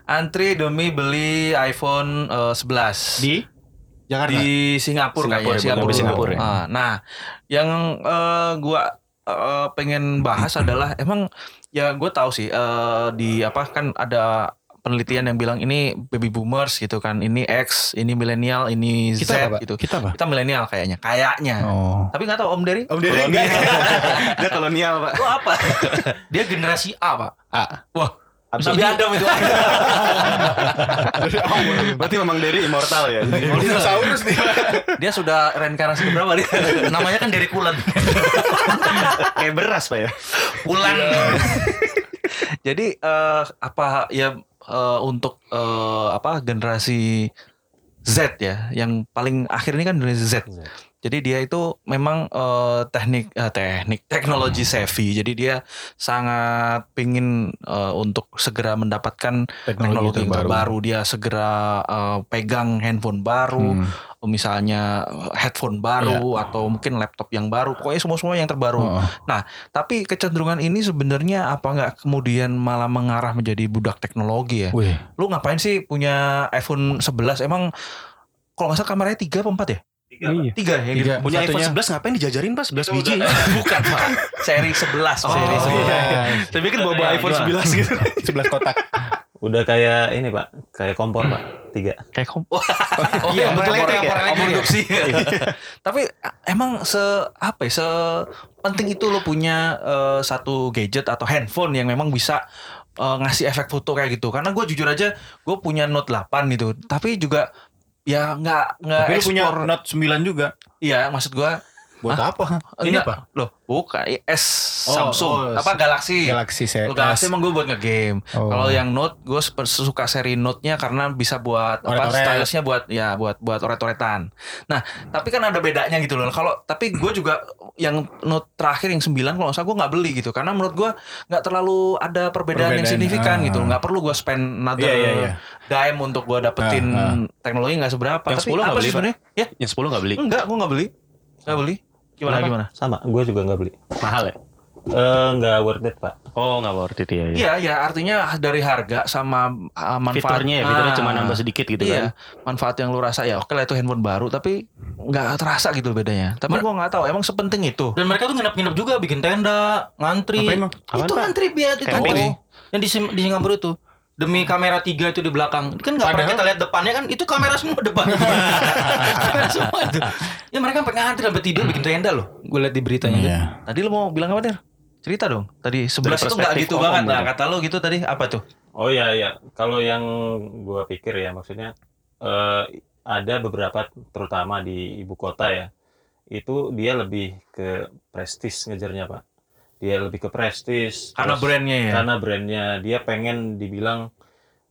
Speaker 3: Antri demi beli iPhone eh, 11
Speaker 1: Di Jakarta.
Speaker 3: di Singapura,
Speaker 2: Singapura
Speaker 3: kayaknya Singapura,
Speaker 2: ya, bener-bener
Speaker 3: Singapura.
Speaker 2: Singapura
Speaker 3: Ah, nah, yang eh, gua eh, pengen bahas adalah emang ya gue tahu sih eh, di apa kan ada penelitian yang bilang ini baby boomers gitu kan, ini X, ini milenial, ini
Speaker 1: Kita
Speaker 3: Z
Speaker 1: apa, Pak?
Speaker 3: gitu.
Speaker 1: Kita apa?
Speaker 3: milenial kayaknya, kayaknya.
Speaker 1: Oh.
Speaker 3: Tapi nggak tahu Om Dery
Speaker 1: Om Deddy enggak.
Speaker 5: dia kolonial pak
Speaker 3: itu apa? Dia generasi A, Pak.
Speaker 1: A.
Speaker 3: Wah,
Speaker 4: Abis
Speaker 3: Nabi
Speaker 2: Iya.
Speaker 3: Adam itu.
Speaker 5: Oh, berarti memang dari immortal ya
Speaker 1: Dinosaurus nih.
Speaker 3: Dia sudah reinkarnasi berapa dia?
Speaker 2: Namanya kan dari Kulen.
Speaker 5: kayak beras pak ya
Speaker 2: Kulen.
Speaker 3: Iya. Jadi eh, apa ya eh, untuk eh, apa generasi Z ya yang paling akhir ini kan generasi Z.
Speaker 4: Z.
Speaker 3: Jadi dia itu memang eh, teknik eh, teknik teknologi savvy. Jadi dia sangat pingin eh, untuk segera mendapatkan teknologi, terbaru. Dia segera eh, pegang handphone baru,
Speaker 1: Hmm.
Speaker 3: misalnya eh, headphone baru atau mungkin laptop yang baru. Pokoknya semua semua yang terbaru.
Speaker 1: Oh.
Speaker 3: Tapi kecenderungan ini sebenarnya apa nggak kemudian malah mengarah menjadi budak teknologi ya?
Speaker 1: Wih.
Speaker 3: Lu ngapain sih punya iPhone 11? Emang kalau nggak salah kameranya 3 apa 4 ya?
Speaker 1: Iya.
Speaker 3: 3 yang di-
Speaker 1: Tiga.
Speaker 5: ya, gitu. punya
Speaker 1: Satunya-
Speaker 5: iPhone 11 ngapain dijajarin pak 11 biji
Speaker 3: Bukan, Pak. Seri 11, Pak. Seri
Speaker 1: Oh,
Speaker 3: 11.
Speaker 1: iya.
Speaker 5: saya pikir bawa
Speaker 4: iPhone
Speaker 5: 11 gitu
Speaker 1: Sebelas kotak.
Speaker 4: Udah kayak ini pak, kayak kompor pak, tiga.
Speaker 5: kayak kom
Speaker 3: Oh,
Speaker 5: Iya,
Speaker 3: betul, kompor
Speaker 5: kompor elektrik ya?
Speaker 3: kompor induksi. Tapi a- emang se apa ya? Se penting itu lo punya eh, satu gadget atau handphone yang memang bisa eh, ngasih efek foto kayak gitu. Karena gue jujur aja, gue punya Note 8 gitu. Tapi juga ya nggak nggak
Speaker 1: Tapi lu punya
Speaker 3: ekspor.
Speaker 1: Note 9 juga.
Speaker 3: Iya, maksud gue
Speaker 1: Buat apa?
Speaker 3: ini apa? Loh, bukan I- S
Speaker 1: oh,
Speaker 3: Samsung apa
Speaker 1: S-
Speaker 3: Galaxy.
Speaker 1: Galaxy Z.
Speaker 3: Kalau Iya. Galaxy emang gue buat ngegame.
Speaker 1: Oh.
Speaker 3: Kalau yang Note gue super- suka seri Note-nya karena bisa buat apa
Speaker 1: Oret-oret.
Speaker 3: stylus-nya buat ya buat buat oret-oretan. Nah, tapi kan ada bedanya gitu loh. Kalau tapi gue juga yang Note terakhir yang 9 kalau nggak salah gue nggak beli gitu karena menurut gue nggak terlalu ada perbedaan, yang
Speaker 1: Perbedaan,
Speaker 3: signifikan
Speaker 1: ah.
Speaker 3: gitu. Nggak perlu gue spend another
Speaker 1: Iya, iya, iya.
Speaker 3: dime untuk gue dapetin
Speaker 1: Ah,
Speaker 3: teknologi nggak seberapa.
Speaker 5: Yang
Speaker 3: tapi apa
Speaker 5: 10 nggak
Speaker 3: sih
Speaker 5: beli, Pak?
Speaker 3: sebenarnya? Ya,
Speaker 5: yang 10 nggak beli
Speaker 3: enggak, gue nggak beli. Nggak beli. Gimana
Speaker 4: Kenapa?
Speaker 3: gimana?
Speaker 4: Sama, gue juga nggak beli.
Speaker 5: mahal ya
Speaker 4: Eh nggak worth it pak.
Speaker 5: oh nggak worth it ya, ya.
Speaker 3: Iya, ya artinya dari harga sama uh, manfaat.
Speaker 5: fiturnya ya fiturnya
Speaker 3: Ah.
Speaker 5: cuma nambah sedikit gitu
Speaker 3: iya,
Speaker 5: kan
Speaker 3: manfaat yang lu rasa ya oke lah itu handphone baru tapi nggak terasa gitu bedanya. Tapi gua nggak tahu emang sepenting itu.
Speaker 2: Dan mereka tuh nginep-nginep juga bikin tenda, ngantri.
Speaker 1: Apa emang?
Speaker 5: Apaan,
Speaker 2: itu
Speaker 5: Pak?
Speaker 2: ngantri biar itu.
Speaker 5: Camping.
Speaker 2: Oh, Yang di, Sing- di Singapura itu demi kamera tiga itu di belakang kan nggak pernah
Speaker 1: Padahal-
Speaker 2: kita lihat depannya kan itu kamera semua depan kamera semua itu ya mereka sampai ngantri sampai tidur bikin tenda loh gue lihat di beritanya
Speaker 1: Iya.
Speaker 3: Tadi lu mau bilang apa, Der? Cerita dong. Tadi sebelas itu nggak
Speaker 5: perspektif
Speaker 3: gitu
Speaker 5: om
Speaker 3: banget.
Speaker 5: gitu.
Speaker 3: Nah, kata lu gitu tadi apa tuh?
Speaker 4: Oh ya ya, kalau yang gue pikir ya maksudnya eh, ada beberapa terutama di ibu kota ya, itu dia lebih ke prestis ngejarnya pak. Dia lebih ke prestis.
Speaker 3: Karena
Speaker 4: terus-
Speaker 3: brandnya ya.
Speaker 4: Karena brandnya dia pengen dibilang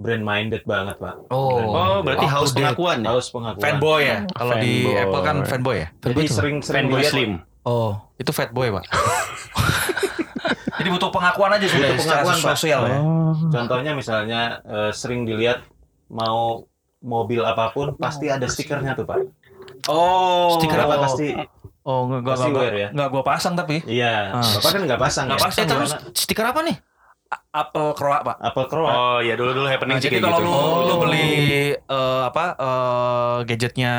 Speaker 4: brand minded banget pak.
Speaker 2: Oh.
Speaker 4: Brand
Speaker 5: oh
Speaker 4: minded.
Speaker 5: berarti
Speaker 3: Up
Speaker 5: haus
Speaker 3: to date.
Speaker 5: pengakuan ya
Speaker 4: harus pengakuan.
Speaker 3: Fanboy ya. Kalau di
Speaker 5: Fanboy.
Speaker 3: Apple kan fanboy ya.
Speaker 4: Jadi sering-sering
Speaker 5: fanboy
Speaker 4: dilihat-
Speaker 5: slim
Speaker 3: Oh, itu fatboy, Pak.
Speaker 2: jadi butuh pengakuan aja sudah
Speaker 3: Butuh pengakuan, Pak.
Speaker 2: sosial ya
Speaker 4: Contohnya misalnya eh, sering dilihat mau mobil apapun pasti ada stikernya tuh pak.
Speaker 3: Oh. Stiker
Speaker 4: Kenapa
Speaker 3: apa?
Speaker 4: pasti?
Speaker 3: Oh, nggak gua
Speaker 4: Pasti
Speaker 3: nggak-
Speaker 4: wear ya?
Speaker 3: nggak gua pasang tapi.
Speaker 4: Iya.
Speaker 3: Ah.
Speaker 4: Bapak kan nggak pasang
Speaker 3: Nggak
Speaker 4: ya.
Speaker 3: pasang.
Speaker 2: eh terus
Speaker 4: warna-
Speaker 2: stiker apa nih
Speaker 3: Apple Croa, Pak.
Speaker 4: Apple Crow.
Speaker 5: oh ya dulu dulu happening
Speaker 3: Nah,
Speaker 5: sih
Speaker 3: jadi
Speaker 5: kayak
Speaker 3: kalau
Speaker 5: gitu
Speaker 3: lu, lu
Speaker 2: Oh.
Speaker 3: beli eh, apa eh, gadgetnya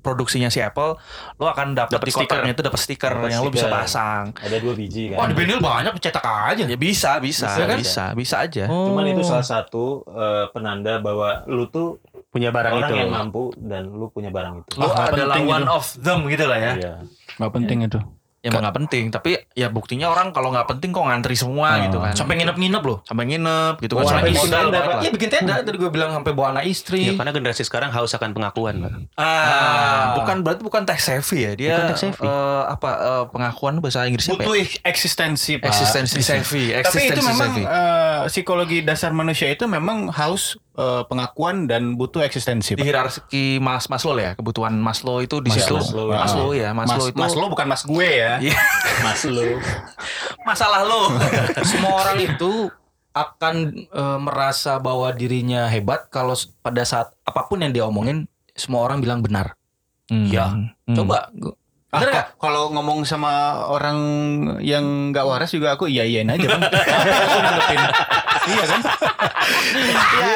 Speaker 3: produksinya si Apple, lu akan dapat
Speaker 5: Dapet
Speaker 3: di
Speaker 5: stiker.
Speaker 3: kotaknya itu dapat stiker
Speaker 4: Dapet
Speaker 3: yang lu bisa
Speaker 4: stiker.
Speaker 3: pasang.
Speaker 4: Ada dua biji kan.
Speaker 2: wah di vinyl banyak cetak aja
Speaker 3: Ya bisa, bisa,
Speaker 4: Bisa
Speaker 3: bisa,
Speaker 4: kan? Oh.
Speaker 3: bisa, aja.
Speaker 4: Cuman itu salah satu eh, penanda bahwa lu tuh
Speaker 5: punya barang
Speaker 4: orang
Speaker 5: itu
Speaker 4: yang mampu dan lu punya barang itu.
Speaker 3: Lu
Speaker 1: nggak
Speaker 3: adalah
Speaker 1: penting
Speaker 3: one of them gitu lah ya.
Speaker 4: Iya.
Speaker 1: Gak penting itu.
Speaker 3: Ya emang nggak penting, tapi ya buktinya orang kalau nggak penting kok ngantri semua
Speaker 1: Oh.
Speaker 3: gitu kan.
Speaker 2: sampai nginep-nginep loh
Speaker 3: sampai nginep gitu kan.
Speaker 4: Bawa
Speaker 3: Sampai modal
Speaker 4: anak istri
Speaker 3: banget
Speaker 4: Anda,
Speaker 3: lah.
Speaker 2: Iya bikin tenda tadi gue bilang sampai bawa anak
Speaker 5: Ya,
Speaker 2: istri
Speaker 5: karena generasi sekarang haus akan pengakuan, Pak.
Speaker 2: Iya.
Speaker 3: Ah, bukan berarti bukan tech savvy ya dia
Speaker 5: Bukan tech savvy.
Speaker 3: eh, apa eh, pengakuan bahasa Inggrisnya apa ya?
Speaker 1: Butuh eksistensi, Pak.
Speaker 3: Eksistensi savvy,
Speaker 1: Tapi
Speaker 3: eksistensi
Speaker 1: itu memang
Speaker 3: savvy.
Speaker 1: eh, psikologi dasar manusia itu memang haus eh, pengakuan dan butuh eksistensi.
Speaker 3: di
Speaker 1: Pak.
Speaker 3: hierarki Mas Maslow ya kebutuhan Maslow itu di situ
Speaker 4: Maslow.
Speaker 3: Maslow,
Speaker 4: Maslow.
Speaker 3: ya Maslow
Speaker 1: mas,
Speaker 3: itu
Speaker 1: mas lo bukan mas gue ya.
Speaker 3: Iya.
Speaker 4: Mas lu.
Speaker 3: masalah lo Iya.
Speaker 2: semua orang itu akan
Speaker 3: e,
Speaker 2: eh, merasa bahwa dirinya hebat kalau s- pada saat apapun yang dia omongin semua orang bilang benar.
Speaker 3: Hmm.
Speaker 2: Ya. Coba.
Speaker 1: Ah, kok-
Speaker 2: Bener nggak?
Speaker 1: kalau ngomong sama orang yang nggak waras juga aku iya iyain aja bang. Aku nanggepin. iya kan?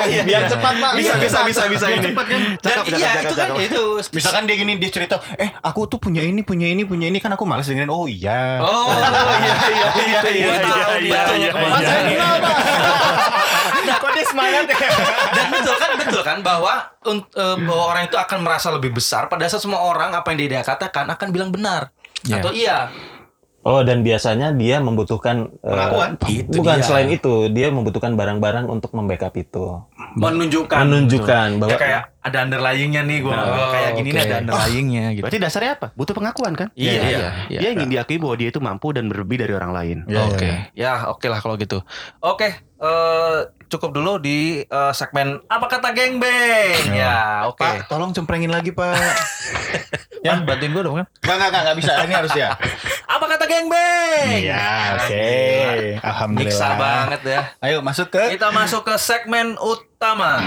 Speaker 2: iya,
Speaker 1: biar cepat pak.
Speaker 2: Bisa,
Speaker 1: Biar
Speaker 2: bisa,
Speaker 1: cepat.
Speaker 2: bisa, bisa
Speaker 1: Biar
Speaker 2: ini.
Speaker 1: cepat kan?
Speaker 2: Dan
Speaker 5: Cakep, cakep,
Speaker 2: iya
Speaker 5: cakep,
Speaker 2: itu kan
Speaker 5: cakep.
Speaker 2: itu.
Speaker 1: Misalkan dia gini dia cerita, eh aku tuh punya ini punya ini punya ini kan aku malas dengerin. Oh iya.
Speaker 2: Oh iya iya iya iya
Speaker 3: Iya,
Speaker 2: betul,
Speaker 3: iya,
Speaker 2: betul.
Speaker 3: iya,
Speaker 2: Mas,
Speaker 1: Mas,
Speaker 3: iya.
Speaker 2: saya kenal, Pak.
Speaker 1: Kok dia semangat ya?
Speaker 2: Dan betul kan betul kan bahwa un- eh, bahwa orang itu akan merasa lebih besar pada saat semua orang apa yang dia katakan akan bilang benar
Speaker 3: Iya.
Speaker 2: atau iya.
Speaker 4: Oh dan biasanya dia membutuhkan eh,
Speaker 5: Pengakuan.
Speaker 2: Itu
Speaker 4: bukan
Speaker 2: dia.
Speaker 4: selain itu dia membutuhkan barang-barang untuk membackup itu
Speaker 3: Menunjukkan.
Speaker 4: menunjukkan bahwa
Speaker 3: Ya kayak ada underlyingnya nih gua.
Speaker 2: Oh,
Speaker 3: kayak gini nih
Speaker 2: oke.
Speaker 3: ada underlyingnya gitu.
Speaker 5: Berarti dasarnya apa? Butuh pengakuan kan?
Speaker 3: Iya, iya. iya.
Speaker 5: dia ingin diakui bahwa dia itu mampu dan berlebih dari orang lain.
Speaker 3: oke. Ya, oke lah kalau gitu. Oke, eh
Speaker 2: e,
Speaker 3: cukup dulu di eh, segmen apa kata gengbeng. Ya, oke.
Speaker 1: Pak, tolong cemprengin lagi pak.
Speaker 3: Pan, bantuin gua dong kan.
Speaker 1: Gak gak gak bisa. Ini harus ya.
Speaker 3: Apa kata gengbeng?
Speaker 1: Iya. Oke. Alhamdulillah.
Speaker 3: Nyiksa banget ya.
Speaker 1: Ayo masuk ke.
Speaker 3: Kita masuk ke segmen utama.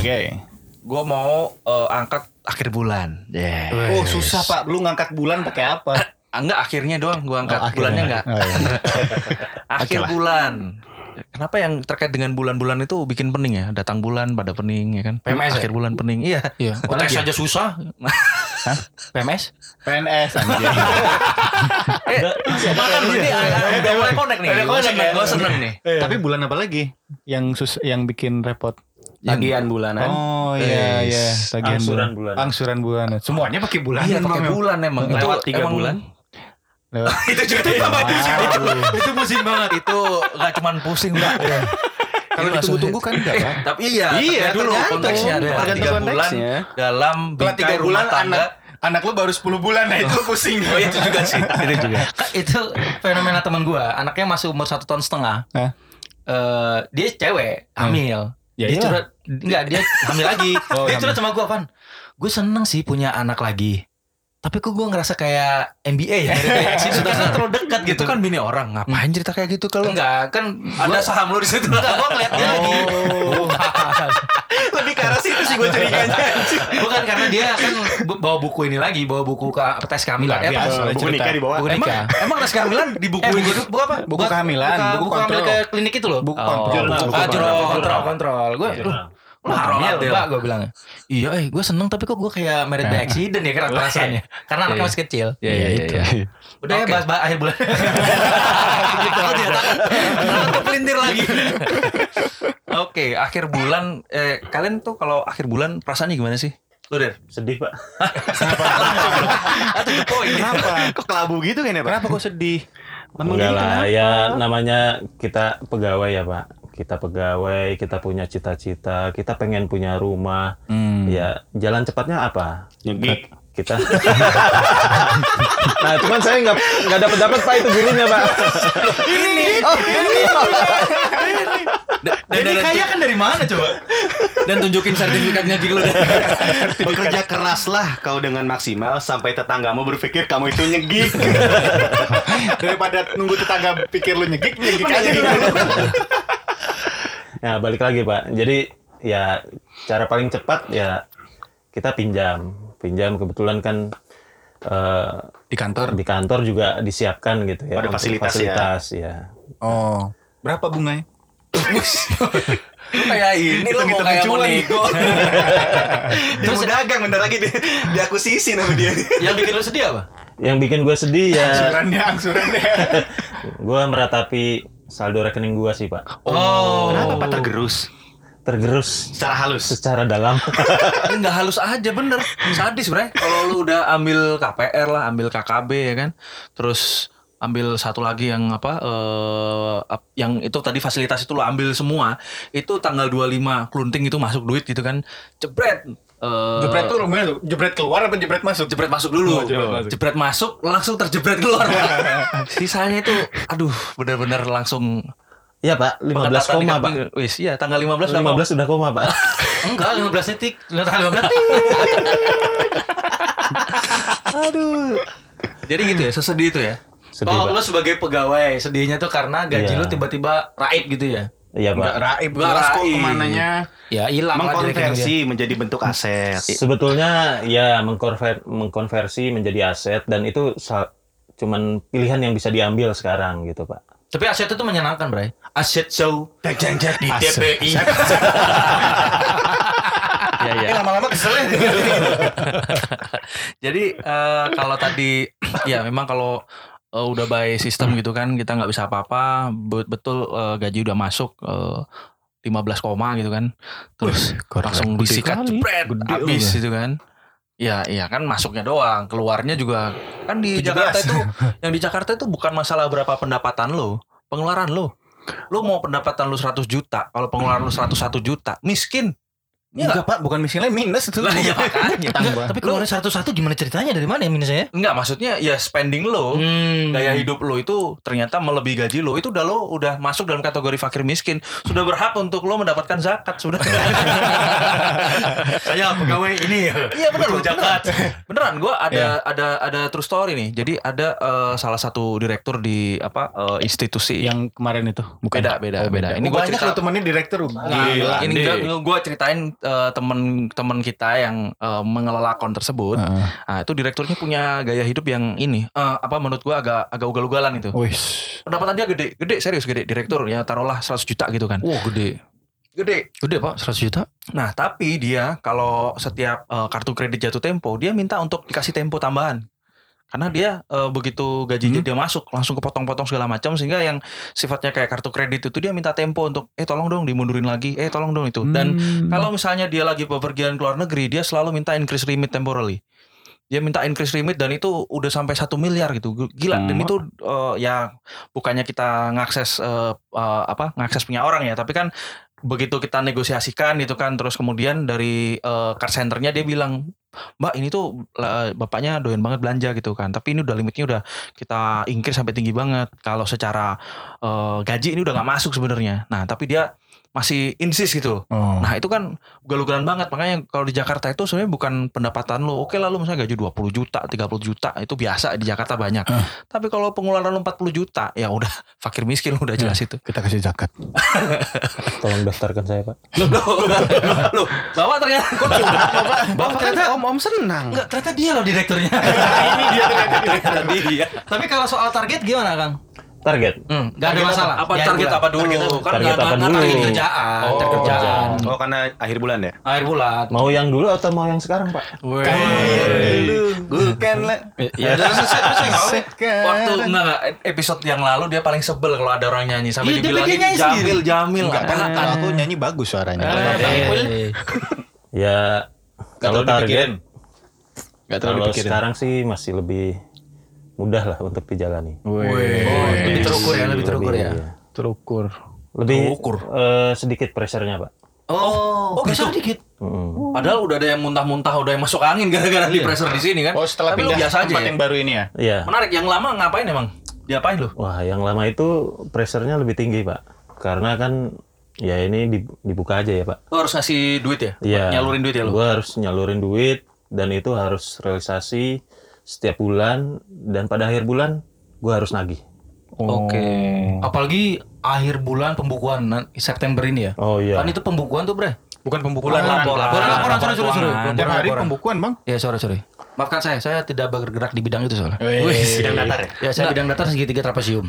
Speaker 1: Oke.
Speaker 3: Gua mau eh, angkat akhir bulan. Yeah.
Speaker 1: Oh susah pak, lu ngangkat bulan pakai apa?
Speaker 3: Ah, Enggak akhirnya doang gua angkat.
Speaker 1: Oh, akhirnya.
Speaker 3: Bulannya enggak.
Speaker 1: Oh, iya.
Speaker 3: akhir bulan. Kenapa yang terkait dengan bulan-bulan itu bikin pening ya? Datang bulan pada pening ya kan?
Speaker 2: PMS ya?
Speaker 3: akhir bulan pening. Iya.
Speaker 2: Iya.
Speaker 3: Apalagi ya?
Speaker 2: aja susah.
Speaker 3: PMS?
Speaker 1: PNS anjir.
Speaker 3: Eh, makan ini udah mulai connect nih.
Speaker 1: Udah
Speaker 3: Gua
Speaker 1: connect
Speaker 3: seneng,
Speaker 1: ya?
Speaker 3: gua seneng nih.
Speaker 1: Tapi bulan apa lagi yang sus yang bikin repot?
Speaker 5: Tagihan bulanan.
Speaker 1: Oh iya iya, tagihan
Speaker 4: angsuran
Speaker 1: bulan.
Speaker 4: bulan.
Speaker 1: Angsuran bulanan. Semuanya pakai bulan. ya. Iya,
Speaker 3: Iya, pakai bulan emang.
Speaker 5: Itu
Speaker 3: Lewat
Speaker 5: tiga
Speaker 3: emang-
Speaker 5: bulan.
Speaker 1: Lewat. Iya,
Speaker 3: itu juga itu, itu, itu pusing banget. Itu gak cuman pusing, Mbak.
Speaker 1: Kalau
Speaker 3: Itu langsung-
Speaker 1: ditunggu-tunggu kan enggak, Pak?
Speaker 3: Tapi iya, iya dulu konteksnya ada tiga bulan dalam
Speaker 1: Setelah tiga
Speaker 3: bingkai
Speaker 1: bulan
Speaker 3: rumah tangga.
Speaker 1: anak anak lu baru 10 bulan nah itu pusing.
Speaker 3: Oh, itu juga sih. itu juga. itu fenomena teman gua, anaknya masih umur satu tahun setengah.
Speaker 1: Hah?
Speaker 3: Eh, dia cewek, hamil.
Speaker 1: Ya
Speaker 3: dia
Speaker 1: iyalah.
Speaker 3: curhat, enggak dia hamil lagi.
Speaker 1: Oh,
Speaker 3: dia
Speaker 1: hamil.
Speaker 3: curhat sama gua, Pan. Gue seneng sih punya anak lagi. Tapi kok gue ngerasa kayak NBA ya Sudah karena terlalu dekat gitu
Speaker 2: Itu kan bini orang ngapain cerita kayak gitu kalau
Speaker 3: Enggak, kan ada saham lu di situ. Enggak, gua ngeliat dia lagi.
Speaker 1: Oh.
Speaker 3: Lebih ke arah situ sih gua curiganya. Bukan karena dia kan bu- bawa buku ini lagi, bawa buku ke tes kehamilan.
Speaker 1: Enggak,
Speaker 3: Eh,
Speaker 1: biasa.
Speaker 3: apa?
Speaker 1: Bulan iya,
Speaker 5: Buku
Speaker 1: cerita.
Speaker 5: nikah di bawah.
Speaker 3: Buku nikah. Emang, emang tes kehamilan di buku
Speaker 2: Eh,
Speaker 3: ini?
Speaker 2: buku-
Speaker 3: gitu? buku apa?
Speaker 1: buku
Speaker 3: Buat-
Speaker 1: kehamilan,
Speaker 3: buka-
Speaker 1: buku
Speaker 3: buku hamil ke
Speaker 1: kontrol.
Speaker 3: klinik itu loh.
Speaker 1: Buku
Speaker 3: Oh.
Speaker 1: kontrol,
Speaker 3: Buku
Speaker 1: buku
Speaker 3: kontrol,
Speaker 4: kontrol.
Speaker 3: kontrol, kontrol. Gue
Speaker 4: Iya.
Speaker 3: Lu hamil,
Speaker 2: Hamil, Iya. Mbak, Nah.
Speaker 3: Mbak, gue bilang. Iya, eh, gue seneng tapi kok gue kayak married by accident ya karena rasanya. Karena anaknya masih kecil.
Speaker 2: Iya iya iya.
Speaker 3: Udah ya bahas bahas akhir bulan. Takut ya takut. Takut kepelintir lagi.
Speaker 2: Oke, akhir bulan eh kalian tuh kalau akhir bulan perasaannya gimana sih?
Speaker 3: Lu deh.
Speaker 4: Sedih pak.
Speaker 2: Ah,
Speaker 1: Kenapa?
Speaker 5: Kok kelabu gitu kan ya, Pak?
Speaker 1: Kenapa kok sedih?
Speaker 4: Enggak lah, ya namanya kita pegawai ya Pak. Kita pegawai, kita punya cita-cita, kita pengen punya rumah. Ya jalan cepatnya apa?
Speaker 5: Nyegik.
Speaker 4: Kita. nah cuman saya nggak nggak dapat dapat Pak itu gurunya Pak.
Speaker 1: Jadi kaya kan dari mana coba?
Speaker 2: Dan tunjukin sertifikatnya gitu lu.
Speaker 5: Bekerja keraslah kau dengan maksimal sampai tetanggamu berpikir kamu itu nyegik.
Speaker 1: Daripada nunggu tetangga pikir lu nyegik, nyegik aja gitu. dulu.
Speaker 4: Nah balik lagi Pak. Jadi ya cara paling cepat ya kita pinjam. Pinjam kebetulan kan eh,
Speaker 1: Di kantor.
Speaker 4: di kantor juga disiapkan gitu ya.
Speaker 5: Ada
Speaker 4: untuk
Speaker 5: fasilitas ya.
Speaker 4: fasilitas ya.
Speaker 1: Oh, berapa bunganya?
Speaker 2: kayak ini lu mau kayak mau nego.
Speaker 5: Terus dagang bentar lagi di, diakusisi nama dia.
Speaker 2: Yang bikin lu sedih apa?
Speaker 4: Yang bikin gue sedih ya
Speaker 1: Angsurannya, angsurannya.
Speaker 4: Gua meratapi saldo rekening gua sih pak
Speaker 2: Oh.
Speaker 5: Kenapa Pak tergerus?
Speaker 4: tergerus
Speaker 5: Secara halus.
Speaker 4: secara dalam
Speaker 2: Enggak halus aja bener. Sadis, Bre.
Speaker 3: Kalau lu udah ambil KPR lah, ambil KKB ya kan. Terus ambil satu lagi yang apa eh ap- yang itu tadi fasilitas itu lu ambil semua. Itu tanggal 25 klunting itu masuk duit gitu kan. Jebret. Eh,
Speaker 1: Jebret tuh lumayan tuh. Jebret keluar apa jebret masuk?
Speaker 3: jebret masuk
Speaker 1: Oh,
Speaker 3: dulu.
Speaker 1: jebret masuk.
Speaker 3: jebret masuk langsung terjebret keluar. Sisanya itu aduh benar-benar langsung
Speaker 4: Iya pak 15
Speaker 3: pengetatan
Speaker 4: koma
Speaker 3: di
Speaker 4: pak
Speaker 3: kampung. Wis, iya tanggal 15 udah mau-
Speaker 4: 15 udah koma pak
Speaker 3: Enggak, 15 detik. Lihat 15 detik.
Speaker 5: Aduh.
Speaker 3: Jadi gitu ya, sesedih itu ya.
Speaker 4: Sedih,
Speaker 3: Kalau lo
Speaker 4: Pak.
Speaker 3: sebagai pegawai, sedihnya tuh karena gaji
Speaker 4: Iya.
Speaker 3: lo tiba-tiba raib gitu ya.
Speaker 4: Iya pak.
Speaker 1: Nggak raib
Speaker 3: Nggak
Speaker 1: jelas kok
Speaker 3: raib.
Speaker 1: kemananya.
Speaker 3: Ya hilang lah dari kinerja.
Speaker 5: Mengkonversi menjadi bentuk aset.
Speaker 4: Sebetulnya ya mengkonver- mengkonversi menjadi aset dan itu sa- cuman pilihan yang bisa diambil sekarang gitu pak.
Speaker 3: Tapi aset itu menyenangkan, Bray. Aset show di
Speaker 1: Aset.
Speaker 3: TPI.
Speaker 1: Ya, ya. Eh lama-lama kesel ya.
Speaker 3: Jadi eh, kalau tadi ya memang kalau eh, udah by sistem gitu kan kita nggak bisa apa-apa. Bet- Betul eh, gaji udah masuk eh, 15 koma gitu kan. Terus langsung
Speaker 1: gede
Speaker 3: disikat
Speaker 1: kali.
Speaker 3: jepret
Speaker 1: Gede
Speaker 3: habis gitu kan. Ya, iya kan masuknya doang, keluarnya juga kan di
Speaker 1: 17.
Speaker 3: Jakarta itu yang di Jakarta itu bukan masalah berapa pendapatan lo, pengeluaran lo. Lo mau pendapatan lo 100 juta, kalau pengeluaran lo 101 juta, miskin.
Speaker 1: Enggak pak, bukan miskin lain minus itu.
Speaker 3: Lah ya makanya.
Speaker 1: Tambah.
Speaker 6: Tapi keluarnya satu-satu gimana ceritanya dari mana ya minusnya ya?
Speaker 3: Enggak, maksudnya ya spending lo,
Speaker 6: Hmm.
Speaker 3: gaya hidup lo itu ternyata melebihi gaji lo itu udah lo udah masuk dalam kategori fakir miskin sudah berhak untuk lo mendapatkan zakat sudah
Speaker 6: Saya pegawai ini.
Speaker 3: iya benar lo zakat beneran gue
Speaker 1: Iya.
Speaker 3: ada ada ada true story nih jadi ada eh, salah satu direktur di apa eh, institusi
Speaker 1: Yang kemarin itu. Bukan.
Speaker 3: beda beda beda ini
Speaker 1: ya? Ini
Speaker 3: gue
Speaker 1: banyak
Speaker 3: cerita
Speaker 1: lo temennya direktur. Gila.
Speaker 3: Nah, ini gue ceritain eh, temen-temen kita yang eh, mengelola akun tersebut.
Speaker 1: Heeh.
Speaker 3: Nah, itu direkturnya punya gaya hidup yang ini. eh, apa menurut gue agak agak ugal-ugalan itu.
Speaker 1: Wis.
Speaker 3: pendapatan dia gede, gede serius gede direktur ya taruhlah 100 juta gitu kan.
Speaker 6: Wah gede.
Speaker 3: Gede.
Speaker 6: Gede pak 100 juta.
Speaker 3: Nah, tapi dia kalau setiap eh, kartu kredit jatuh tempo, dia minta untuk dikasih tempo tambahan. Karena dia eh, begitu
Speaker 6: Hmm.
Speaker 3: gajinya dia masuk langsung kepotong-potong segala macam sehingga yang sifatnya kayak kartu kredit itu dia minta tempo untuk eh tolong dong dimundurin lagi, eh tolong dong itu. Dan
Speaker 1: Hmm.
Speaker 3: kalau misalnya dia lagi bepergian ke luar negeri, dia selalu minta increase limit temporarily. Dia minta increase limit dan itu udah sampai satu miliar gitu, gila. Dan
Speaker 1: Hmm.
Speaker 3: itu eh, ya bukannya kita ngakses eh, eh, apa ngakses punya orang ya, tapi kan begitu kita negosiasikan gitu kan, terus kemudian dari eh, card centernya dia bilang, Mbak ini tuh eh, bapaknya doyan banget belanja gitu kan, tapi ini udah limitnya udah kita increase sampai tinggi banget. Kalau secara eh, gaji ini udah nggak masuk sebenarnya. Nah tapi dia masih insist gitu.
Speaker 1: Oh.
Speaker 3: Nah itu kan galugalan banget makanya kalau di Jakarta itu sebenarnya bukan pendapatan lo oke lah lo misalnya gaji 20 juta 30 juta itu biasa di Jakarta banyak
Speaker 1: Eh.
Speaker 3: tapi kalau pengeluaran lo 40 juta ya udah fakir miskin lo udah jelas itu
Speaker 1: Kita kasih zakat.
Speaker 4: Tolong daftarkan saya pak.
Speaker 3: lo lo bapak ternyata bapak ternyata
Speaker 5: kan om om senang.
Speaker 6: Enggak ternyata dia loh direkturnya.
Speaker 5: Iya,
Speaker 1: Ini dia
Speaker 3: tadi ya
Speaker 6: Tapi kalau soal target gimana kang?
Speaker 4: Target.
Speaker 6: Hmm, gak ada masalah.
Speaker 3: apa
Speaker 6: Ya,
Speaker 3: target
Speaker 6: gua.
Speaker 3: apa dulu kan
Speaker 4: Target
Speaker 3: nggak-
Speaker 4: apa
Speaker 3: nggak
Speaker 4: dulu?
Speaker 3: target kerjaan
Speaker 6: Oh.
Speaker 3: target kerjaan
Speaker 5: Oh karena akhir bulan ya.
Speaker 6: Air bulat.
Speaker 4: Mau yang dulu atau mau yang sekarang pak?
Speaker 5: Bukanlah.
Speaker 6: iya.
Speaker 3: ya terus saya- terus saya nggak tahu.
Speaker 1: Sekarang.
Speaker 3: waktu enggak, enggak, episode yang lalu dia paling sebel kalau ada orang nyanyi sampai
Speaker 6: Iya, dia
Speaker 3: dibilangin
Speaker 6: bikin nyanyi
Speaker 3: jamil jamil
Speaker 1: Enggak,
Speaker 5: kan
Speaker 3: nggak
Speaker 1: kalau
Speaker 3: enak.
Speaker 1: kalau aku nyanyi bagus suaranya.
Speaker 3: Eh,
Speaker 4: Ya
Speaker 1: terlalu dipikirin.
Speaker 4: kalau target
Speaker 1: Enggak terlalu
Speaker 4: kalau
Speaker 1: dipikirin.
Speaker 4: sekarang sih masih lebih mudah lah untuk dijalani.
Speaker 3: Oh, lebih terukur ya lebih terukur ya
Speaker 4: iya.
Speaker 1: Terukur.
Speaker 4: Lebih
Speaker 3: Terukur.
Speaker 4: eh, sedikit pressure-nya pak.
Speaker 3: Oh, oh gitu. dikit.
Speaker 4: Mm.
Speaker 3: Padahal udah ada yang muntah-muntah, udah yang masuk angin gara-gara di pressure di sini kan.
Speaker 1: Oh, setelah
Speaker 3: Tapi lu
Speaker 1: pindah
Speaker 3: biasa aja.
Speaker 1: tempat
Speaker 3: ya?
Speaker 1: yang baru ini ya.
Speaker 4: Iya.
Speaker 3: Menarik, yang lama ngapain emang? Diapain lu?
Speaker 4: Wah, yang lama itu pressure-nya lebih tinggi, Pak. Karena kan ya ini di- dibuka aja ya, Pak.
Speaker 3: Lu harus ngasih duit ya?
Speaker 4: Iya.
Speaker 3: Nyalurin duit ya lu?
Speaker 4: Gua harus nyalurin duit dan itu harus realisasi setiap bulan dan pada akhir bulan gua harus nagih.
Speaker 5: Oh.
Speaker 3: Oke. Apalagi akhir bulan pembukuan nan- September ini ya.
Speaker 4: Oh iya.
Speaker 3: Kan itu pembukuan tuh, Bre.
Speaker 1: Bukan
Speaker 3: Bulan
Speaker 1: pembukulan
Speaker 3: laporan.
Speaker 6: Laporan, laporan,
Speaker 3: Laporan,
Speaker 6: sorry, sorry, sorry.
Speaker 3: keuangan.
Speaker 1: Tiap hari
Speaker 3: Laporan.
Speaker 1: pembukuan, Bang.
Speaker 6: Ya sorry sorry.
Speaker 3: Maafkan saya, saya tidak bergerak di bidang itu soalnya. Iya,
Speaker 1: Wih,
Speaker 5: Sidang datar ya.
Speaker 6: Ya saya bidang datar segitiga trapesium.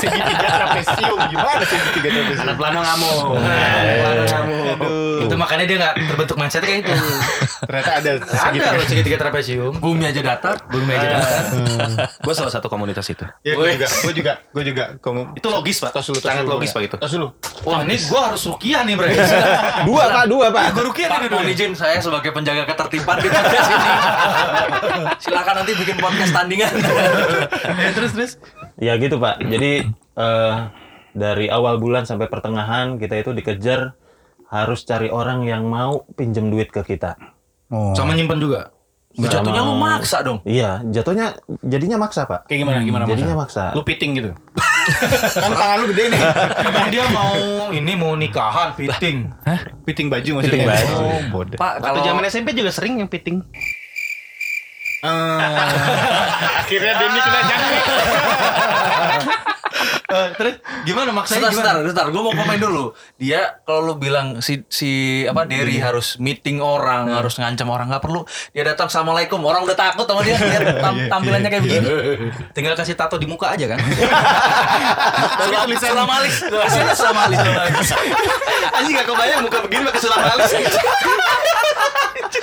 Speaker 1: segitiga trapesium. Gimana segitiga trapesium?
Speaker 5: Anak pelana ngamuk.
Speaker 3: Iya.
Speaker 6: itu makanya dia nggak terbentuk mindset kayak itu.
Speaker 1: Ternyata ada segitiga.
Speaker 6: Ada loh segitiga trapesium.
Speaker 3: Bumi aja datar, Eh.
Speaker 6: Belum aja datar.
Speaker 5: Gue salah satu komunitas itu.
Speaker 1: Ya, gue juga, gue juga, gue juga. Kamu
Speaker 5: Itu logis pak.
Speaker 1: tos dulu, tos
Speaker 5: Sangat
Speaker 1: dulu.
Speaker 5: logis pak itu.
Speaker 1: Tos dulu.
Speaker 6: Wah ini gue harus rukiah nih bre.
Speaker 1: Dua pak, dua pak.
Speaker 6: Gue rukiah
Speaker 3: Pak,
Speaker 6: nih
Speaker 3: mohon
Speaker 6: dulu.
Speaker 3: izin saya sebagai penjaga ketertiban di podcast ini. Silakan nanti bikin podcast tandingan.
Speaker 1: Ya, terus terus.
Speaker 4: Ya gitu, Pak. Jadi eh, dari awal bulan sampai pertengahan kita itu dikejar harus cari orang yang mau pinjem duit ke kita.
Speaker 1: Oh.
Speaker 6: Sama nyimpen juga.
Speaker 3: Jatuhnya lu maksa dong.
Speaker 4: Iya, jatuhnya jadinya maksa, Pak.
Speaker 1: Kayak gimana, gimana?
Speaker 4: Jadinya
Speaker 1: Mas?
Speaker 4: maksa.
Speaker 1: Lu piting gitu. kan tangan lu gede nih.
Speaker 6: Emang Kan dia mau ini mau nikahan fitting.
Speaker 1: Hah? Piting baju maksudnya.
Speaker 4: Piting baju.
Speaker 1: Oh, bodoh.
Speaker 3: Pak,
Speaker 5: Waktu
Speaker 3: kalau
Speaker 5: zaman SMP juga sering yang piting.
Speaker 1: Eh, Akhirnya Denny kena
Speaker 5: Ah.
Speaker 1: nyangkut.
Speaker 3: Gimana maksudnya? Sebentar, sebentar, gue mau komen dulu. Dia kalau lu bilang si si apa Derry harus meeting orang, harus ngancam orang nggak perlu. Dia datang assalamualaikum, orang udah takut sama dia lihat tam- tampilannya kayak begini. Iya, Tinggal kasih tato di muka aja kan. Sulam sulam alis, kasihnya sulam alis. sulam alis. Anjing gak kebayang muka begini pakai sulam alis.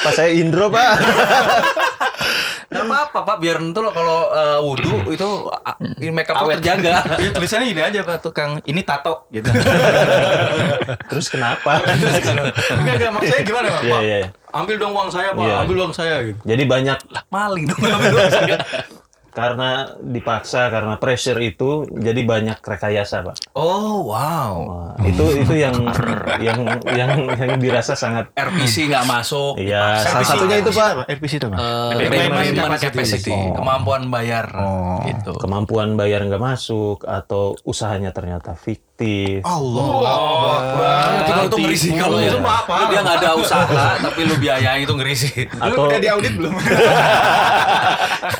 Speaker 7: Pas saya Indro pak.
Speaker 3: Gak apa-apa pak, biar tentu lo kalau eh, wudhu itu ah, make up lo terjaga. Iya, tulisannya gini aja pak, tukang ini tato gitu.
Speaker 7: Terus kenapa?
Speaker 3: Enggak, enggak, maksudnya gimana pak?
Speaker 4: Iya, iya.
Speaker 3: Ambil dong uang saya pak,
Speaker 4: Iya.
Speaker 3: ambil uang saya gitu.
Speaker 4: Jadi banyak
Speaker 3: Maling dong ambil uang saya.
Speaker 4: karena dipaksa karena pressure itu jadi banyak rekayasa pak.
Speaker 3: Oh wow.
Speaker 4: Wah, itu itu yang yang yang yang dirasa sangat
Speaker 3: RPC nggak masuk.
Speaker 4: Iya,
Speaker 3: Salah
Speaker 4: salah
Speaker 3: satu
Speaker 1: Satunya itu pak. RPC itu pak.
Speaker 3: eh,
Speaker 1: Payment
Speaker 3: payment
Speaker 1: capacity.
Speaker 3: capacity,
Speaker 1: Oh.
Speaker 3: kemampuan bayar gitu.
Speaker 4: kemampuan bayar nggak masuk atau usahanya ternyata fiktif.
Speaker 3: Oh.
Speaker 1: Allah.
Speaker 3: Kalau itu ngeri sih kalau ya. itu maaf Lu dia nggak ada usaha tapi lu biayain itu ngeri sih.
Speaker 4: Atau
Speaker 1: diaudit belum?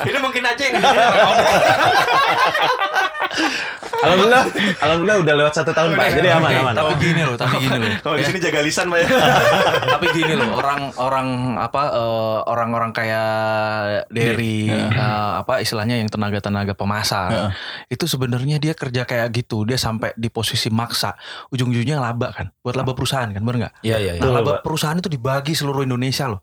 Speaker 3: Ini mungkin aja yang
Speaker 4: alhamdulillah, alhamdulillah udah lewat satu tahun pak, jadi aman aman.
Speaker 3: Tapi gini loh, tapi gini loh.
Speaker 5: Kalau di sini jaga lisan Pak ya.
Speaker 3: tapi gini loh orang-orang apa eh, orang-orang kayak dari
Speaker 4: Iya,
Speaker 3: eh, apa istilahnya yang tenaga-tenaga pemasar itu sebenarnya dia kerja kayak gitu dia sampai di posisi maksa ujung-ujungnya laba kan buat laba perusahaan kan bener nggak
Speaker 2: Iya, iya, iya.
Speaker 3: nah,
Speaker 4: Betul,
Speaker 3: laba
Speaker 4: Pak.
Speaker 3: perusahaan itu dibagi seluruh Indonesia loh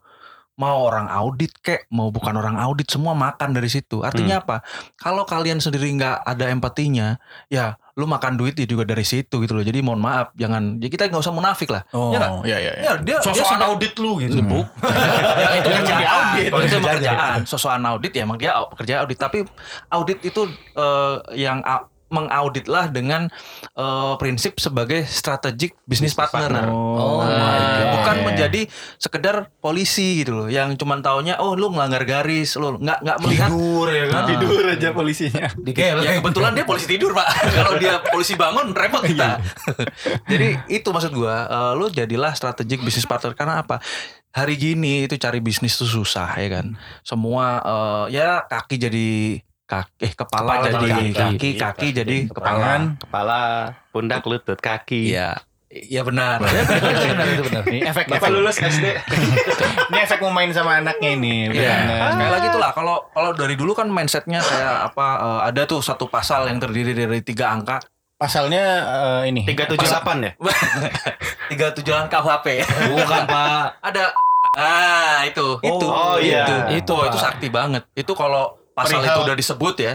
Speaker 3: mau orang audit kek mau bukan orang audit semua makan dari situ artinya
Speaker 4: Hmm.
Speaker 3: apa kalau kalian sendiri nggak ada empatinya ya lu makan duit ya juga dari situ gitu loh jadi mohon maaf jangan ya kita nggak usah munafik lah
Speaker 1: Oh,
Speaker 3: Ya nggak?
Speaker 1: ya ya. ya.
Speaker 3: Ya, dia dia
Speaker 6: Sosokan
Speaker 3: sampai-
Speaker 6: audit lu gitu.
Speaker 3: Buk. ya, itu kerjaan.
Speaker 1: audit.
Speaker 3: Kalau itu emang kerjaan. Sosokan audit ya emang dia au- kerja audit. Tapi audit itu eh, yang a- mengauditlah dengan eh, prinsip sebagai strategic business partner.
Speaker 1: Oh,
Speaker 3: Nah, bukan
Speaker 1: Yeah.
Speaker 3: menjadi sekedar polisi gitu loh yang cuman taunya oh lu ngelanggar garis lu nggak nggak melihat
Speaker 6: Tidur ya kan.
Speaker 1: tidur aja polisinya.
Speaker 3: Nah, ya kebetulan dia polisi tidur pak kalau dia polisi bangun repot kita Iya. jadi itu maksud gua eh, lu jadilah strategik bisnis partner karena apa hari gini itu cari bisnis tuh susah ya kan semua eh, ya kaki jadi kaki eh kepala,
Speaker 6: Kepala
Speaker 3: jadi
Speaker 6: jadi
Speaker 3: kaki kaki,
Speaker 4: kaki, kaki,
Speaker 3: jadi kepala
Speaker 1: Tangan.
Speaker 5: Kepala, pundak, lutut, kaki.
Speaker 3: iya iya benar itu benar itu benar
Speaker 1: Ini efek
Speaker 4: Bapak
Speaker 1: efek.
Speaker 4: lulus SD.
Speaker 1: Ini efek mau main sama anaknya ini.
Speaker 3: Iya.
Speaker 1: beneran.
Speaker 3: Sekali lagi itulah kalau kalau dari dulu kan mindsetnya kayak apa eh, ada tuh satu pasal yang terdiri dari tiga angka
Speaker 1: Pasalnya eh, ini.
Speaker 5: 378 ya?
Speaker 3: tiga tujuan KUHP bukan pak ada ah itu itu
Speaker 5: oh, iya.
Speaker 3: itu itu, itu sakti banget itu kalau pasal itu udah disebut ya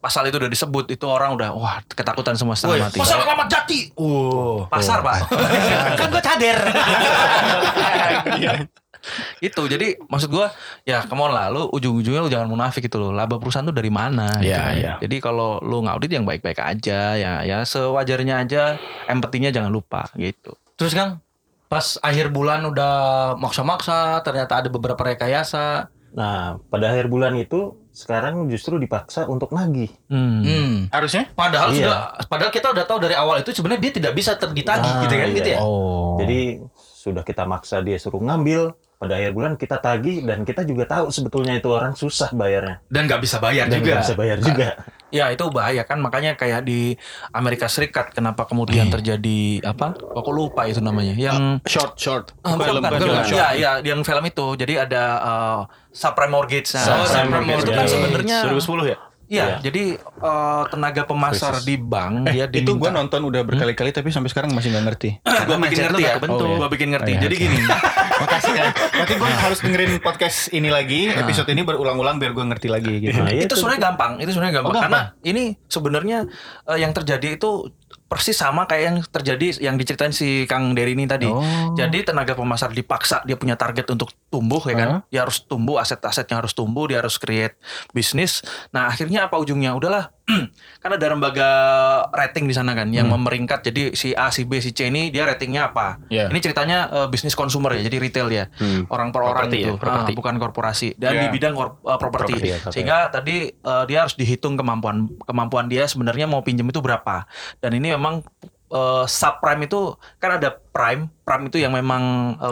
Speaker 3: pasal itu udah disebut itu orang udah wah ketakutan semua setengah mati Oh. pasar kelamat jati pasar pak kan gue cader itu jadi maksud gua ya come on lah lu ujung-ujungnya lu jangan munafik gitu loh laba perusahaan tuh dari mana gitu.
Speaker 1: Iya, iya.
Speaker 3: jadi kalau lu ngaudit yang baik-baik aja ya ya sewajarnya aja empatinya jangan lupa gitu
Speaker 2: Terus Kang, pas akhir bulan udah maksa-maksa, ternyata ada beberapa rekayasa.
Speaker 4: Nah, pada akhir bulan itu sekarang justru dipaksa untuk nagih.
Speaker 2: Hmm.
Speaker 1: Harusnya?
Speaker 2: Padahal
Speaker 4: Iya.
Speaker 2: sudah padahal kita udah tahu dari awal itu sebenarnya dia tidak bisa ter- ditagih
Speaker 4: Nah,
Speaker 2: gitu kan
Speaker 4: iya.
Speaker 2: gitu ya.
Speaker 1: Oh.
Speaker 4: Jadi sudah kita maksa dia suruh ngambil, pada akhir bulan kita tagih dan kita juga tahu sebetulnya itu orang susah bayarnya
Speaker 3: dan nggak bisa bayar
Speaker 4: dan nggak bisa bayar juga.
Speaker 3: Ya itu bahaya kan makanya kayak di Amerika Serikat kenapa kemudian terjadi apa? Kok aku lupa itu namanya. Yang
Speaker 1: Short short.
Speaker 3: Ah, bukan, bukan, bukan,
Speaker 1: Film,
Speaker 3: bukan. Ya, ya, yang film itu. Jadi ada eh, subprime mortgage. Nah,
Speaker 4: Subprime mortgage.
Speaker 3: itu kan
Speaker 4: Iya.
Speaker 3: sebenarnya
Speaker 5: 2010 ya?
Speaker 3: Iya,
Speaker 4: Iya.
Speaker 3: jadi eh, tenaga pemasar di bank dia Iya, diminta
Speaker 1: Itu gua nonton udah berkali-kali tapi sampai sekarang masih nggak ngerti.
Speaker 3: gue bikin ngerti ya.
Speaker 1: kebentuk.
Speaker 3: Gua bikin ngerti.
Speaker 1: Oh, iya,
Speaker 3: Jadi
Speaker 1: oke.
Speaker 3: gini.
Speaker 1: Makasih ya. Nanti gue harus dengerin podcast ini lagi, episode ini berulang-ulang biar gue ngerti lagi gitu.
Speaker 4: Nah,
Speaker 3: itu sebenarnya gampang, itu sebenarnya gampang.
Speaker 1: Oh, gampang.
Speaker 3: Karena ini sebenarnya eh, yang terjadi itu persis sama kayak yang terjadi yang diceritain si Kang Dery ini tadi. Jadi tenaga pemasar dipaksa dia punya target untuk tumbuh ya kan. Dia harus tumbuh aset-asetnya harus tumbuh, dia harus create bisnis. Nah, akhirnya apa ujungnya? Udahlah. Karena ada lembaga rating di sana kan yang memeringkat. Jadi si A, si B, si C ini dia ratingnya apa?
Speaker 1: Iya.
Speaker 3: Ini ceritanya eh, bisnis konsumer ya, jadi retail ya. Orang per orang
Speaker 5: Properti
Speaker 3: itu,
Speaker 5: ya, properti.
Speaker 3: bukan korporasi. Dan
Speaker 1: Iya.
Speaker 3: di bidang kor- eh, properti.
Speaker 4: Properti ya, properti.
Speaker 3: Sehingga tadi eh, dia harus dihitung kemampuan kemampuan dia sebenarnya mau pinjem itu berapa. Dan ini memang eh, subprime itu kan ada prime, prime itu yang memang eh,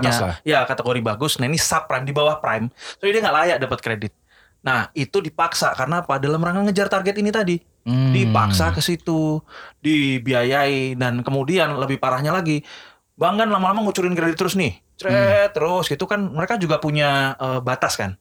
Speaker 3: punya
Speaker 2: atas lah.
Speaker 3: ya kategori bagus. Nah ini subprime di bawah prime, jadi dia nggak layak dapat kredit. Nah itu dipaksa karena apa? Dalam rangka ngejar target ini tadi,
Speaker 2: Hmm.
Speaker 3: dipaksa ke situ, dibiayai dan kemudian lebih parahnya lagi, bank kan lama-lama ngucurin kredit terus nih,
Speaker 2: Hmm.
Speaker 3: cret terus gitu kan mereka juga punya eh, batas kan.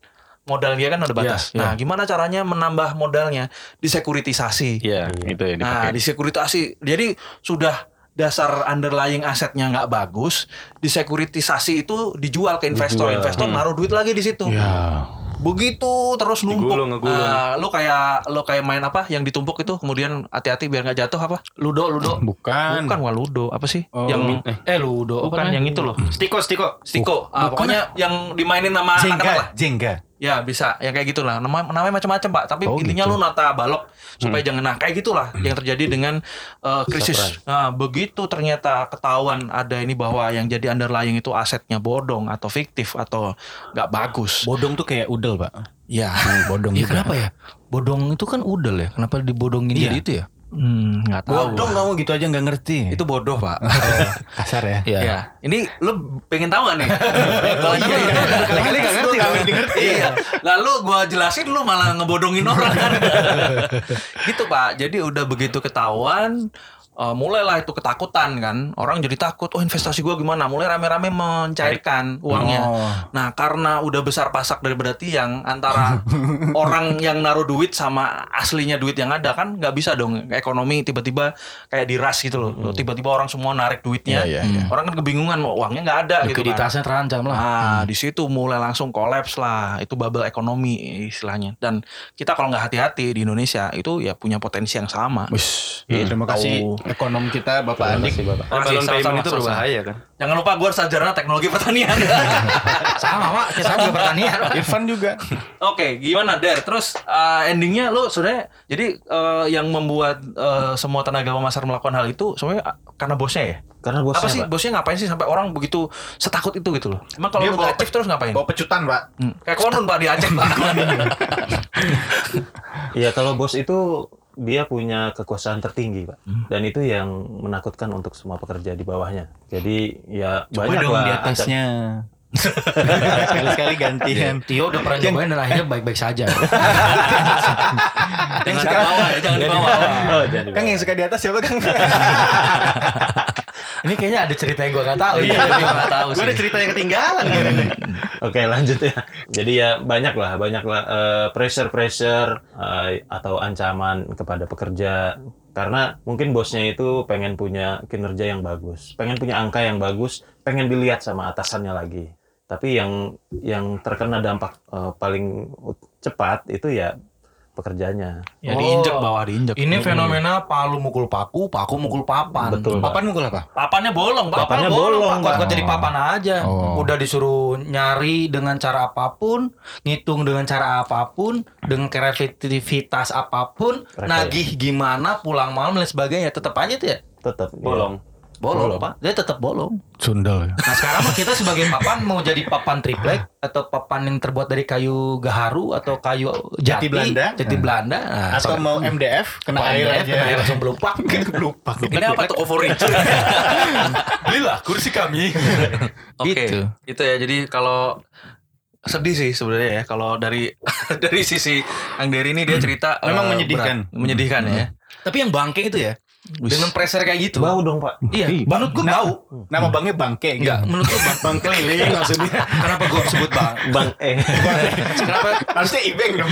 Speaker 3: Modal dia kan ada batas.
Speaker 2: Iya, iya.
Speaker 3: Nah, gimana caranya menambah modalnya? Disekuritisasi.
Speaker 5: Iya,
Speaker 2: gitu
Speaker 5: itu
Speaker 2: ya,
Speaker 5: yang
Speaker 3: Nah, disekuritisasi. Jadi sudah dasar underlying asetnya nggak bagus, disekuritisasi itu dijual ke investor.
Speaker 4: Dijual.
Speaker 3: Investor
Speaker 2: Hmm.
Speaker 3: naruh duit lagi di situ.
Speaker 2: Iya.
Speaker 3: Begitu terus numpuk.
Speaker 5: Digulung, ngegulung.
Speaker 3: Ah, lu kayak lu kayak main apa yang ditumpuk itu kemudian hati-hati biar nggak jatuh apa? Ludo, ludo.
Speaker 1: Bukan.
Speaker 3: Bukan wah ludo, apa sih?
Speaker 1: Oh.
Speaker 3: Yang eh ludo
Speaker 1: Bukan
Speaker 3: bukan yang itu loh.
Speaker 1: Stiko, Stiko.
Speaker 3: Stiko. Ah, pokoknya yang dimainin
Speaker 1: Ah,
Speaker 3: sama anak-anak lah.
Speaker 1: Jengga, Jengga.
Speaker 3: Ya bisa, yang kayak gitulah. Nama, namanya macam-macam pak. Tapi
Speaker 1: Oh,
Speaker 3: intinya
Speaker 1: gitu. Hmm.
Speaker 3: lu nata balok supaya jangan nah kayak gitulah yang terjadi dengan uh, krisis. Nah begitu ternyata ketahuan ada ini bahwa yang jadi underlying itu asetnya bodong atau fiktif atau nggak bagus.
Speaker 1: Bodong tuh kayak udel, Pak.
Speaker 2: Ya.
Speaker 1: Bodong
Speaker 2: Ya
Speaker 1: juga.
Speaker 2: kenapa ya? Bodong itu kan udel ya. Kenapa dibodongin
Speaker 1: Iya.
Speaker 2: jadi itu ya?
Speaker 3: Hmm, nggak tahu.
Speaker 1: Bodong kamu gitu aja nggak ngerti.
Speaker 3: Itu bodoh pak.
Speaker 1: kasar ya.
Speaker 2: Iya.
Speaker 3: Ya, ini lu pengen tahu gak nih? Kalau iya, iya, kali gak ngerti, gak ngerti, ngerti. Iya. Lalu gua jelasin lu malah ngebodongin orang kan. gitu Pak. Jadi udah begitu ketahuan eh, mulailah itu ketakutan kan. Orang jadi takut, oh investasi gua gimana? Mulai rame-rame mencairkan uangnya.
Speaker 1: Oh.
Speaker 3: Nah, karena udah besar pasak daripada tiang antara orang yang naruh duit sama aslinya duit yang ada kan nggak bisa dong ekonomi tiba-tiba kayak diras gitu loh. Tiba-tiba orang semua narik duitnya.
Speaker 1: Hmm. Iya, iya,
Speaker 3: Hmm. Orang kan kebingungan mau uangnya nggak ada gitu kan.
Speaker 2: Likuiditasnya terancam lah.
Speaker 1: Hmm.
Speaker 3: Nah, di situ mulai langsung kolaps lah. Itu bubble ekonomi istilahnya. Dan kita kalau nggak hati-hati di Indonesia itu ya punya potensi yang sama.
Speaker 1: Ya, terima kasih ekonom kita Bapak Andik.
Speaker 3: Makasih,
Speaker 5: Oh, balon payment
Speaker 3: sama-sama,
Speaker 5: itu
Speaker 3: sama-sama.
Speaker 5: berbahaya kan?
Speaker 3: Jangan lupa gue sarjana teknologi pertanian.
Speaker 2: Sama pak.
Speaker 1: Iya,
Speaker 2: Kita juga pertanian.
Speaker 1: Irfan juga.
Speaker 3: Oke, gimana Der? Terus uh, endingnya lo sebenarnya jadi uh, yang membuat uh, semua tenaga pemasar melakukan hal itu sebenarnya uh, karena bosnya ya?
Speaker 4: Karena bosnya,
Speaker 3: Apa sih
Speaker 4: Pak.
Speaker 3: bosnya ngapain sih sampai orang begitu setakut itu gitu loh? Emang kalau
Speaker 1: Dia
Speaker 3: lo
Speaker 1: bawa-
Speaker 3: nggak active terus ngapain?
Speaker 1: Bawa pecutan, Pak.
Speaker 3: Hmm. Kayak konon pak di Aceh pak.
Speaker 4: Ya kalau bos itu dia punya kekuasaan tertinggi, Pak.
Speaker 3: Hmm.
Speaker 4: Dan itu yang menakutkan untuk semua pekerja di bawahnya. Jadi ya banyak lah atas-
Speaker 1: Sekali-sekali gantian.
Speaker 2: Iya. Tio udah pernah nyobain dan akhirnya baik-baik saja.
Speaker 3: jangan ke bawah ya, jangan ke bawah.
Speaker 4: Oh, jadi
Speaker 1: Kang yang suka di atas siapa, Kang?
Speaker 2: Ini kayaknya ada cerita yang gue gak tahu.
Speaker 3: Iya, tapi nggak tahu
Speaker 5: Gue
Speaker 3: sih.
Speaker 5: ada cerita yang ketinggalan.
Speaker 3: Iya,
Speaker 5: kan?
Speaker 4: Oke lanjut ya. Jadi ya banyak lah, banyak lah eh, pressure-pressure eh, atau ancaman kepada pekerja karena mungkin bosnya itu pengen punya kinerja yang bagus, pengen punya angka yang bagus, pengen dilihat sama atasannya lagi. Tapi yang yang terkena dampak eh, paling ut- cepat itu ya pekerjanya.
Speaker 3: Ya
Speaker 2: Oh.
Speaker 3: diinjek bawah diinjek.
Speaker 6: Ini fenomena palu mukul paku, paku mukul papan.
Speaker 4: Betul. Pak.
Speaker 1: Papan mukul apa?
Speaker 3: Papannya bolong, Pak.
Speaker 4: Papannya bolong, Pak.
Speaker 6: Kuat-kuat jadi papan aja.
Speaker 1: Oh.
Speaker 6: Udah disuruh nyari dengan cara apapun, ngitung dengan cara apapun, dengan kreativitas apapun,
Speaker 4: Rekayasa.
Speaker 6: nagih gimana, pulang malam dan sebagainya, tetap aja tuh ya.
Speaker 4: Tetap ya.
Speaker 5: Bolong.
Speaker 6: Bolong,
Speaker 4: Bolong.
Speaker 6: Pak. Dia tetap bolong.
Speaker 1: Sundel.
Speaker 6: Nah, sekarang mah kita sebagai papan mau jadi papan triplek atau papan yang terbuat dari kayu gaharu atau kayu jati,
Speaker 1: Jati Belanda.
Speaker 6: Jati Belanda. Nah,
Speaker 1: Atau mau MDF kena
Speaker 6: papan
Speaker 1: air
Speaker 6: DF,
Speaker 1: aja.
Speaker 6: air langsung belupak.
Speaker 1: Lupa.
Speaker 3: Ini apa toko furniture?
Speaker 6: Belilah kursi kami.
Speaker 3: Oke,
Speaker 2: Gitu.
Speaker 3: itu ya. Jadi kalau sedih sih sebenarnya ya kalau dari dari sisi Ang Dery ini dia cerita
Speaker 1: Memang
Speaker 3: eh,
Speaker 1: menyedihkan.
Speaker 3: berat. menyedihkan ya. Tapi yang bangke itu ya dengan pressure kayak gitu.
Speaker 4: Bau dong pak.
Speaker 3: Iya, menurut
Speaker 5: Nah.
Speaker 3: gua bau.
Speaker 1: Nama banknya Bangke. gitu.
Speaker 3: Enggak, menurut gua bang.
Speaker 1: Bang keliling maksudnya.
Speaker 3: Kenapa gua sebut bang?
Speaker 4: Bang eh.
Speaker 3: Kenapa?
Speaker 1: Harusnya ibeng dong.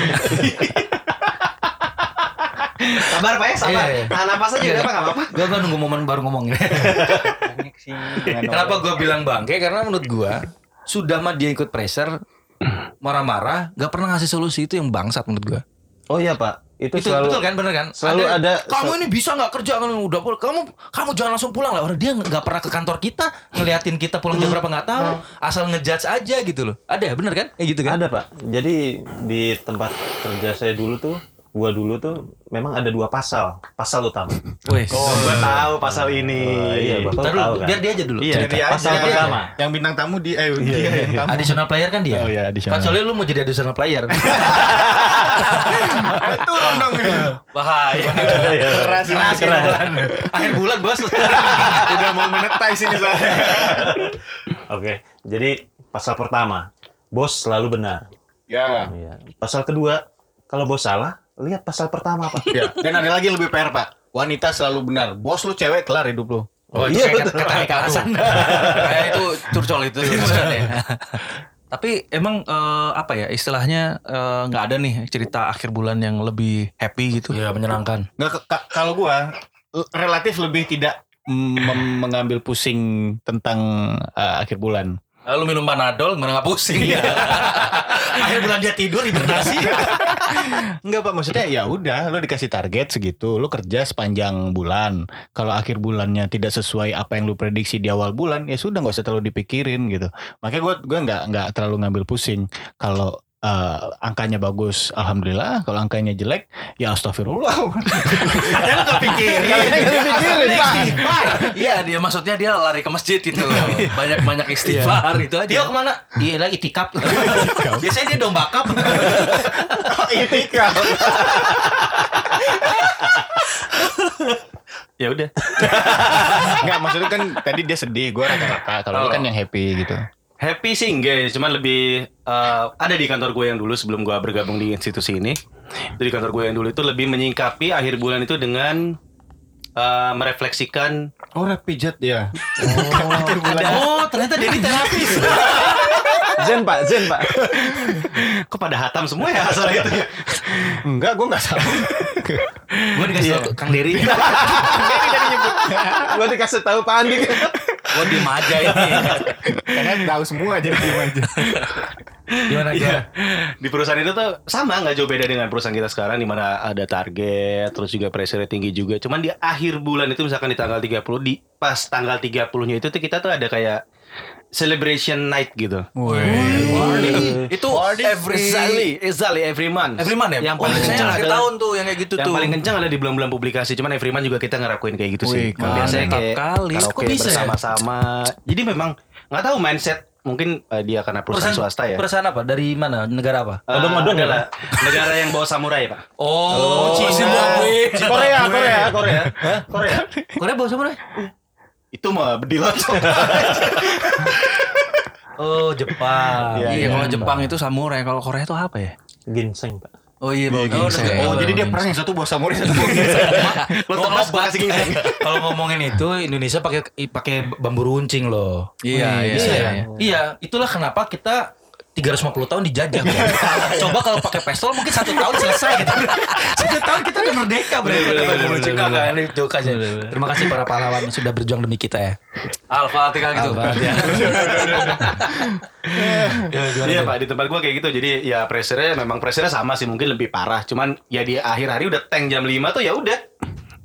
Speaker 5: Sabar Pak ya, sabar.
Speaker 6: Iya, iya.
Speaker 5: Tahan napas aja
Speaker 6: Iya.
Speaker 5: udah Pak, nggak apa-apa.
Speaker 6: Gua gua nunggu momen baru ngomong.
Speaker 1: Kenapa?
Speaker 6: Kenapa gua bilang bangke? Karena menurut gua sudah mah dia ikut pressure marah-marah
Speaker 2: Gak pernah ngasih solusi itu yang bangsat menurut gue.
Speaker 4: Oh iya pak. Itu,
Speaker 6: itu
Speaker 4: selalu
Speaker 6: betul kan bener kan
Speaker 4: selalu ada-
Speaker 6: kamu ini bisa nggak kerja kan udah pul- kamu kamu jangan langsung pulang lah orang dia nggak pernah ke kantor kita ngeliatin kita pulang jam berapa nggak tahu
Speaker 4: Hmm.
Speaker 6: asal ngejudge aja ya? gitu loh ada bener kan kayak gitu kan
Speaker 4: Ada pak. Jadi di tempat kerja saya dulu tuh gua dulu tuh memang ada dua pasal, pasal utama.
Speaker 2: Wes.
Speaker 5: Oh, gue tahu pasal ini.
Speaker 4: Eh, iya, bapak
Speaker 2: Ntar
Speaker 4: tahu
Speaker 2: dulu,
Speaker 4: kan.
Speaker 2: biar dia aja dulu.
Speaker 5: Iya.
Speaker 1: Jadi aja,
Speaker 4: Pasal
Speaker 1: dia-
Speaker 4: pertama.
Speaker 1: Yang bintang tamu di eh dia yang tamu.
Speaker 2: Additional player kan dia.
Speaker 1: Oh iya, additional.
Speaker 2: Kan soalnya lu mau jadi additional player.
Speaker 1: Turun dong.
Speaker 2: Bahaya.
Speaker 1: Keras keras.
Speaker 2: Akhir bulan bos.
Speaker 1: Udah mau menetai sini saya.
Speaker 4: Oke, jadi pasal pertama, bos selalu benar.
Speaker 1: Ya.
Speaker 4: Iya. Pasal kedua, kalau bos salah, lihat pasal pertama pak.
Speaker 1: Ya. Dan ada lagi yang lebih PR, Pak. Wanita selalu benar. Bos lu cewek kelar hidup lu.
Speaker 2: Oh,
Speaker 5: iya,
Speaker 2: itu kayak kata Eka Hasan.
Speaker 3: Kayak itu curcol itu.
Speaker 5: Iya,
Speaker 8: Tapi emang eh, apa ya istilahnya eh, nggak ada nih cerita akhir bulan yang lebih happy gitu.
Speaker 3: Iya menyenangkan.
Speaker 1: Nggak ke- ka- kalau gua l- relatif lebih tidak mm, mem- mengambil pusing tentang uh, akhir bulan.
Speaker 3: Lalu minum panadol, gimana nggak pusing?
Speaker 2: Iya. Akhir bulan dia tidur hibernasi.
Speaker 1: Enggak Pak, maksudnya ya udah lu dikasih target segitu, lu kerja sepanjang bulan. Kalau akhir bulannya tidak sesuai apa yang lu prediksi di awal bulan, ya sudah nggak usah terlalu dipikirin gitu. Makanya gua gua nggak nggak terlalu ngambil pusing kalau eh, angkanya bagus, alhamdulillah. Kalau angkanya jelek, ya astagfirullah. Kan iya,
Speaker 2: Jangan kepikirin.
Speaker 3: Iya dia maksudnya dia lari ke masjid gitu
Speaker 2: gitu
Speaker 3: itu
Speaker 8: Iya.
Speaker 3: banyak banyak istighfar itu aja.
Speaker 2: Iya. Dia kemana? Dia Iya, lagi tikap. Biasanya dia domba cup.
Speaker 1: iya,
Speaker 8: Ya udah.
Speaker 1: Enggak, maksudnya kan tadi dia sedih, gua rata-rata. Kalau lu kan yang happy gitu.
Speaker 5: Happy sih enggak, ya, cuman lebih eh, ada di kantor gue yang dulu sebelum gue bergabung di institusi ini. Itu di kantor gue yang dulu itu lebih menyingkapi akhir bulan itu dengan eh, merefleksikan
Speaker 1: Oh, rap pijat ya.
Speaker 2: Oh, ternyata dia terapis.
Speaker 9: Zen pak, Zen pak.
Speaker 5: kepada hatam semua ya asal itu.
Speaker 1: Enggak, gua enggak salah.
Speaker 2: Gue dikasih tau Kang Dery.
Speaker 5: gitu.
Speaker 9: Gue dikasih tahu Pak Andi.
Speaker 3: Gue diem aja ini.
Speaker 1: Karena tahu semua jadi gimana.
Speaker 2: Gimana gimana?
Speaker 5: Iya. Di perusahaan itu tuh sama nggak jauh beda dengan perusahaan kita sekarang di mana ada target, terus juga pressure tinggi juga. Cuman di akhir bulan itu misalkan di tanggal 30 di pas tanggal 30-nya itu tuh kita tuh ada kayak celebration night gitu.
Speaker 3: Itu every
Speaker 5: Exactly, exactly every month.
Speaker 3: every month ya.
Speaker 5: Yang paling
Speaker 3: Oh,
Speaker 5: kencang
Speaker 3: akhir
Speaker 5: adalah-
Speaker 3: tahun tuh yang kayak gitu
Speaker 5: Yang
Speaker 3: tuh.
Speaker 5: paling kencang ada di bulan-bulan publikasi, cuman every month juga kita ngerakuin kayak gitu
Speaker 1: Wih,
Speaker 5: sih.
Speaker 1: mantap
Speaker 5: Biasanya kayak
Speaker 8: kali.
Speaker 5: karaoke
Speaker 2: Kok bisa ya?
Speaker 5: bersama-sama. Jadi memang nggak tahu mindset mungkin eh, dia karena perusahaan, swasta ya.
Speaker 2: Perusahaan apa? Dari mana? Negara apa?
Speaker 5: Eh, adalah negara yang bawa samurai pak.
Speaker 3: Oh,
Speaker 8: Iya,
Speaker 5: Iya,
Speaker 1: eh.
Speaker 9: Korea, Korea, Korea. Korea.
Speaker 2: Korea bawa siapa? Roy?
Speaker 5: Itu mah bedilan.
Speaker 2: Oh, Jepang.
Speaker 1: Iya,
Speaker 8: Iya kalau Jepang itu samurai, kalau Korea itu apa ya?
Speaker 4: Ginseng pak.
Speaker 3: Oh iya, Bang.
Speaker 8: gini
Speaker 3: Oh,
Speaker 2: gitu.
Speaker 3: udah,
Speaker 8: saya.
Speaker 3: oh,
Speaker 1: Oh, jadi dia perang yang satu bawa samurai, satu bawa ginseng.
Speaker 5: Lo tebas gua kasih ginseng.
Speaker 2: Kalau ngomongin itu Indonesia pakai pakai bambu runcing loh.
Speaker 8: Iya,
Speaker 2: Wih,
Speaker 8: iya,
Speaker 2: bisa ya?
Speaker 8: iya,
Speaker 2: iya. itulah kenapa kita 350 tahun dijajah. Bro. Coba kalau pakai pistol mungkin satu tahun selesai gitu. satu tahun kita udah merdeka bro. Bambu runcing kakak ini joke aja. Terima kasih para pahlawan yang sudah berjuang demi kita ya.
Speaker 3: Alfa artikel gitu.
Speaker 5: ya. Iya pak di tempat gua kayak gitu jadi ya pressure memang pressure sama sih mungkin lebih parah cuman ya di akhir hari udah tank jam 5 tuh ya udah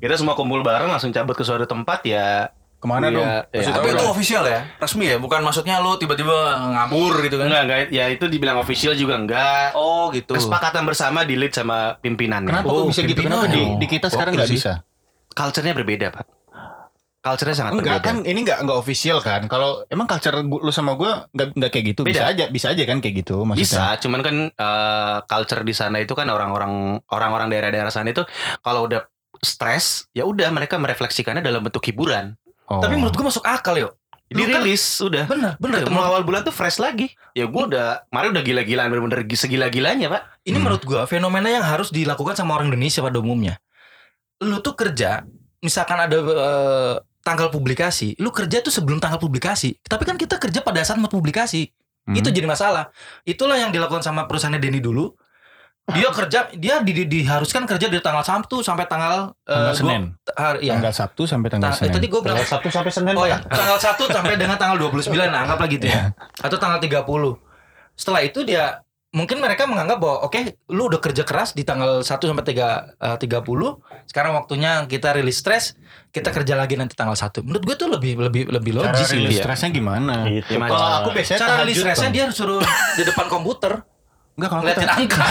Speaker 5: kita semua kumpul bareng langsung cabut ke suatu tempat ya
Speaker 1: Kemana
Speaker 5: ya,
Speaker 1: dong?
Speaker 5: ya,
Speaker 3: Tapi
Speaker 5: apa
Speaker 3: itu
Speaker 5: dong?
Speaker 3: official ya, resmi ya, bukan maksudnya lu tiba-tiba ngabur gitu kan.
Speaker 5: enggak enggak ya itu dibilang official juga enggak
Speaker 3: Oh gitu.
Speaker 5: kesepakatan bersama di lead sama pimpinannya
Speaker 1: Kenapa kok bisa gitu? Kenapa di, di kita sekarang nggak bisa?
Speaker 5: culture-nya berbeda pak culture-nya sangat
Speaker 1: Enggak
Speaker 5: berbeda
Speaker 1: kan ini enggak enggak official kan. Kalau emang culture gu- lu sama gua enggak enggak kayak gitu. Bisa
Speaker 5: Beda.
Speaker 1: aja, bisa aja kan kayak gitu maksudnya.
Speaker 5: Bisa, cuman kan eh, culture di sana itu kan orang-orang orang-orang daerah-daerah sana itu kalau udah stres ya udah mereka merefleksikannya dalam bentuk hiburan.
Speaker 1: Oh.
Speaker 2: Tapi menurut gue masuk akal yo.
Speaker 1: kan
Speaker 5: Dirilis udah.
Speaker 2: Bener, bener.
Speaker 5: Ketemu awal bulan tuh fresh lagi. Ya gue udah kemarin udah gila-gilaan bener-bener gi- segila-gilanya, Pak.
Speaker 2: Ini
Speaker 1: Hmm.
Speaker 2: menurut gua fenomena yang harus dilakukan sama orang Indonesia pada umumnya. Lu tuh kerja, misalkan ada eh, tanggal publikasi, lu kerja tuh sebelum tanggal publikasi. Tapi kan kita kerja pada saat mau publikasi.
Speaker 1: Hmm.
Speaker 2: Itu
Speaker 1: eh,
Speaker 2: jadi masalah. Itulah yang dilakukan sama perusahaannya Denny dulu. Dia kerja, dia di- di- diharuskan kerja dari tanggal Sabtu sampai tanggal eh,
Speaker 1: tanggal
Speaker 2: dua-
Speaker 1: Senin.
Speaker 2: Hari, ya.
Speaker 1: Tanggal Sabtu sampai tanggal
Speaker 2: Tang- eh,
Speaker 1: Senin.
Speaker 2: tadi gue bilang
Speaker 9: Tanggal Sabtu sampai Senin. Pak.
Speaker 2: Oh ya, tanggal 1 sampai dengan tanggal 29 nah, anggaplah gitu ya. Atau tanggal 30. Setelah itu dia mungkin mereka menganggap bahwa oke, lu udah kerja keras di tanggal 1 sampai 3 eh, 30, sekarang waktunya kita rilis stres, kita kerja lagi nanti tanggal 1. Menurut gue tuh lebih lebih lebih
Speaker 1: Cara
Speaker 2: logis
Speaker 1: rilis
Speaker 2: sih.
Speaker 1: stresnya gimana?
Speaker 4: Gitu.
Speaker 5: Gimana?
Speaker 1: Kalau aku biasanya
Speaker 2: Cara rilis
Speaker 1: tahajud,
Speaker 2: stresnya
Speaker 1: Bang.
Speaker 2: dia suruh di depan komputer.
Speaker 1: Enggak kalau aku
Speaker 6: Liatin
Speaker 1: tahajud.
Speaker 6: angka.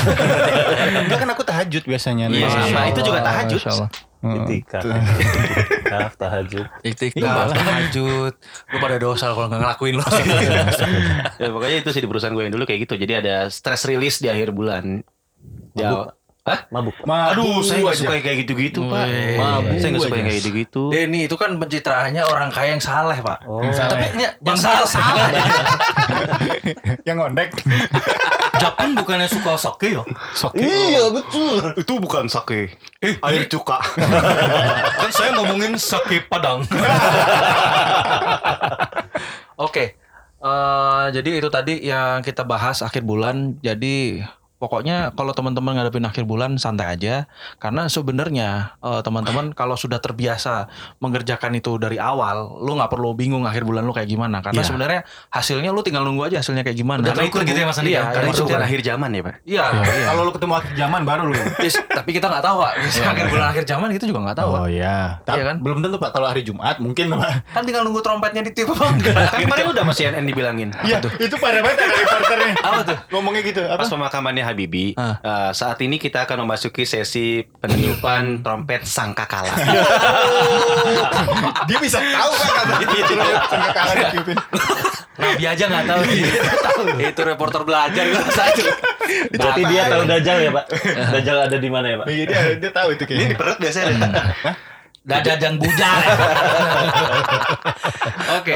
Speaker 1: Enggak kan aku tahajud biasanya. Hmm.
Speaker 6: Iya,
Speaker 5: Nah,
Speaker 1: Masya
Speaker 6: sama.
Speaker 1: Allah.
Speaker 6: Itu juga tahajud.
Speaker 2: Masya Allah.
Speaker 1: Heeh.
Speaker 4: Itikaf. Itikaf tahajud.
Speaker 2: Ikhtikaf,
Speaker 1: Iya.
Speaker 2: tahajud. Lu pada dosa kalau nggak ngelakuin lo.
Speaker 5: Ya, makanya itu sih di perusahaan gue yang dulu kayak gitu. Jadi ada stress release di akhir bulan. Ya,
Speaker 4: Mabuk.
Speaker 5: aduh, saya nggak
Speaker 1: aja.
Speaker 5: suka yang kayak gitu-gitu, Pak.
Speaker 2: Wih.
Speaker 5: Mabuk saya nggak
Speaker 1: aja.
Speaker 5: suka yang kayak gitu-gitu.
Speaker 3: Denny itu kan pencitraannya orang kaya yang saleh pak. Iya,
Speaker 4: Oh.
Speaker 1: Tapi
Speaker 6: Yang salah salah.
Speaker 1: yang ngondek.
Speaker 2: kan
Speaker 6: Japun bukannya suka sake ya?
Speaker 5: Iya, betul. Itu bukan sake. Eh, Air cuka.
Speaker 6: Kan saya ngomongin sake Padang.
Speaker 3: Oke. Eh, jadi itu tadi yang kita bahas akhir bulan. Jadi pokoknya kalau teman-teman ngadepin akhir bulan santai aja karena sebenarnya eh, teman-teman kalau sudah terbiasa mengerjakan itu dari awal, lu nggak perlu bingung akhir bulan lu kayak gimana karena sebenarnya hasilnya lu tinggal nunggu aja hasilnya kayak gimana.
Speaker 6: Iya. Udah terukur gitu ya, Mas Andi,
Speaker 3: Iya,
Speaker 6: ya?
Speaker 3: karena
Speaker 5: Karena itu
Speaker 3: maksudnya-
Speaker 5: bukan akhir zaman ya, Pak.
Speaker 3: Iya, iya.
Speaker 1: Kalau lu ketemu akhir zaman baru lu. ya?
Speaker 3: Yes, tapi kita nggak tahu pak. Yes,
Speaker 6: Iya.
Speaker 3: akhir bulan akhir zaman kita juga nggak
Speaker 6: Oh.
Speaker 3: tahu. Pak.
Speaker 1: ya.
Speaker 3: Iya kan?
Speaker 1: kan? Belum tentu Pak kalau hari Jumat mungkin Pak.
Speaker 3: Kan tinggal nunggu trompetnya ditiup apa enggak?
Speaker 5: Kan kemarin udah Mas Yan dibilangin.
Speaker 1: Iya, itu parah banget ada reporternya.
Speaker 3: Apa tuh?
Speaker 1: Ngomongnya gitu.
Speaker 5: Pas
Speaker 1: Apa?
Speaker 5: pemakamannya Habibi,
Speaker 3: Ah.
Speaker 5: eh, saat ini kita akan memasuki sesi peniupan trompet sangkakala.
Speaker 1: Dia bisa tahu kan kabar itu loh. Sampai kalah ditiupin.
Speaker 6: Nabi aja nggak tahu.
Speaker 3: Itu reporter belajar itu saja.
Speaker 4: Berarti dia tahu Dajjal ya, Pak? Dajjal ada di mana ya, Pak?
Speaker 1: Iya, dia dia tahu itu kayaknya.
Speaker 5: Perut biasanya ada.
Speaker 6: Dada dan bujang.
Speaker 3: Oke.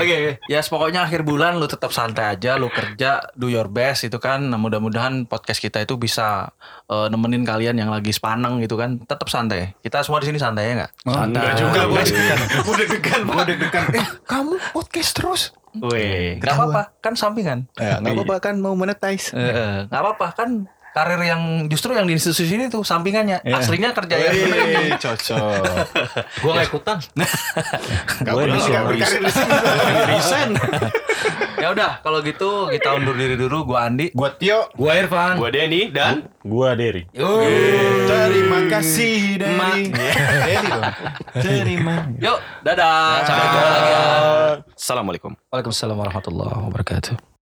Speaker 3: Yes, pokoknya akhir bulan lu tetap santai aja, lu kerja, do your best itu kan. Nah, mudah-mudahan podcast kita itu bisa eh, nemenin kalian yang lagi sepaneng gitu kan. Tetap santai. Kita semua di sini santai ya nggak?
Speaker 1: Enggak juga, Bu. Udah degan, Udah degan. Eh, kamu podcast terus.
Speaker 3: Weh, nggak apa-apa, kan sampingan.
Speaker 1: Ya, enggak apa-apa kan mau monetize.
Speaker 3: Eh, eh, nggak apa-apa kan karir yang justru yang di institusi ini tuh sampingannya. Aslinya kerja ya. yang bener.
Speaker 1: Iya. Wih, cocok.
Speaker 6: Gua nggak ikutan.
Speaker 1: Gak boleh nggak berkarir di sini.
Speaker 3: Ya udah, kalau gitu kita undur diri dulu gua Andi.
Speaker 1: Gua Tio.
Speaker 6: Gua Irfan.
Speaker 5: Gua Denny dan
Speaker 4: Gua Dery.
Speaker 1: Terima kasih dari Eli dong. Terima.
Speaker 3: Yuk, dadah. Sampai jumpa lagi.
Speaker 5: Assalamualaikum.
Speaker 3: Waalaikumsalam warahmatullahi wabarakatuh.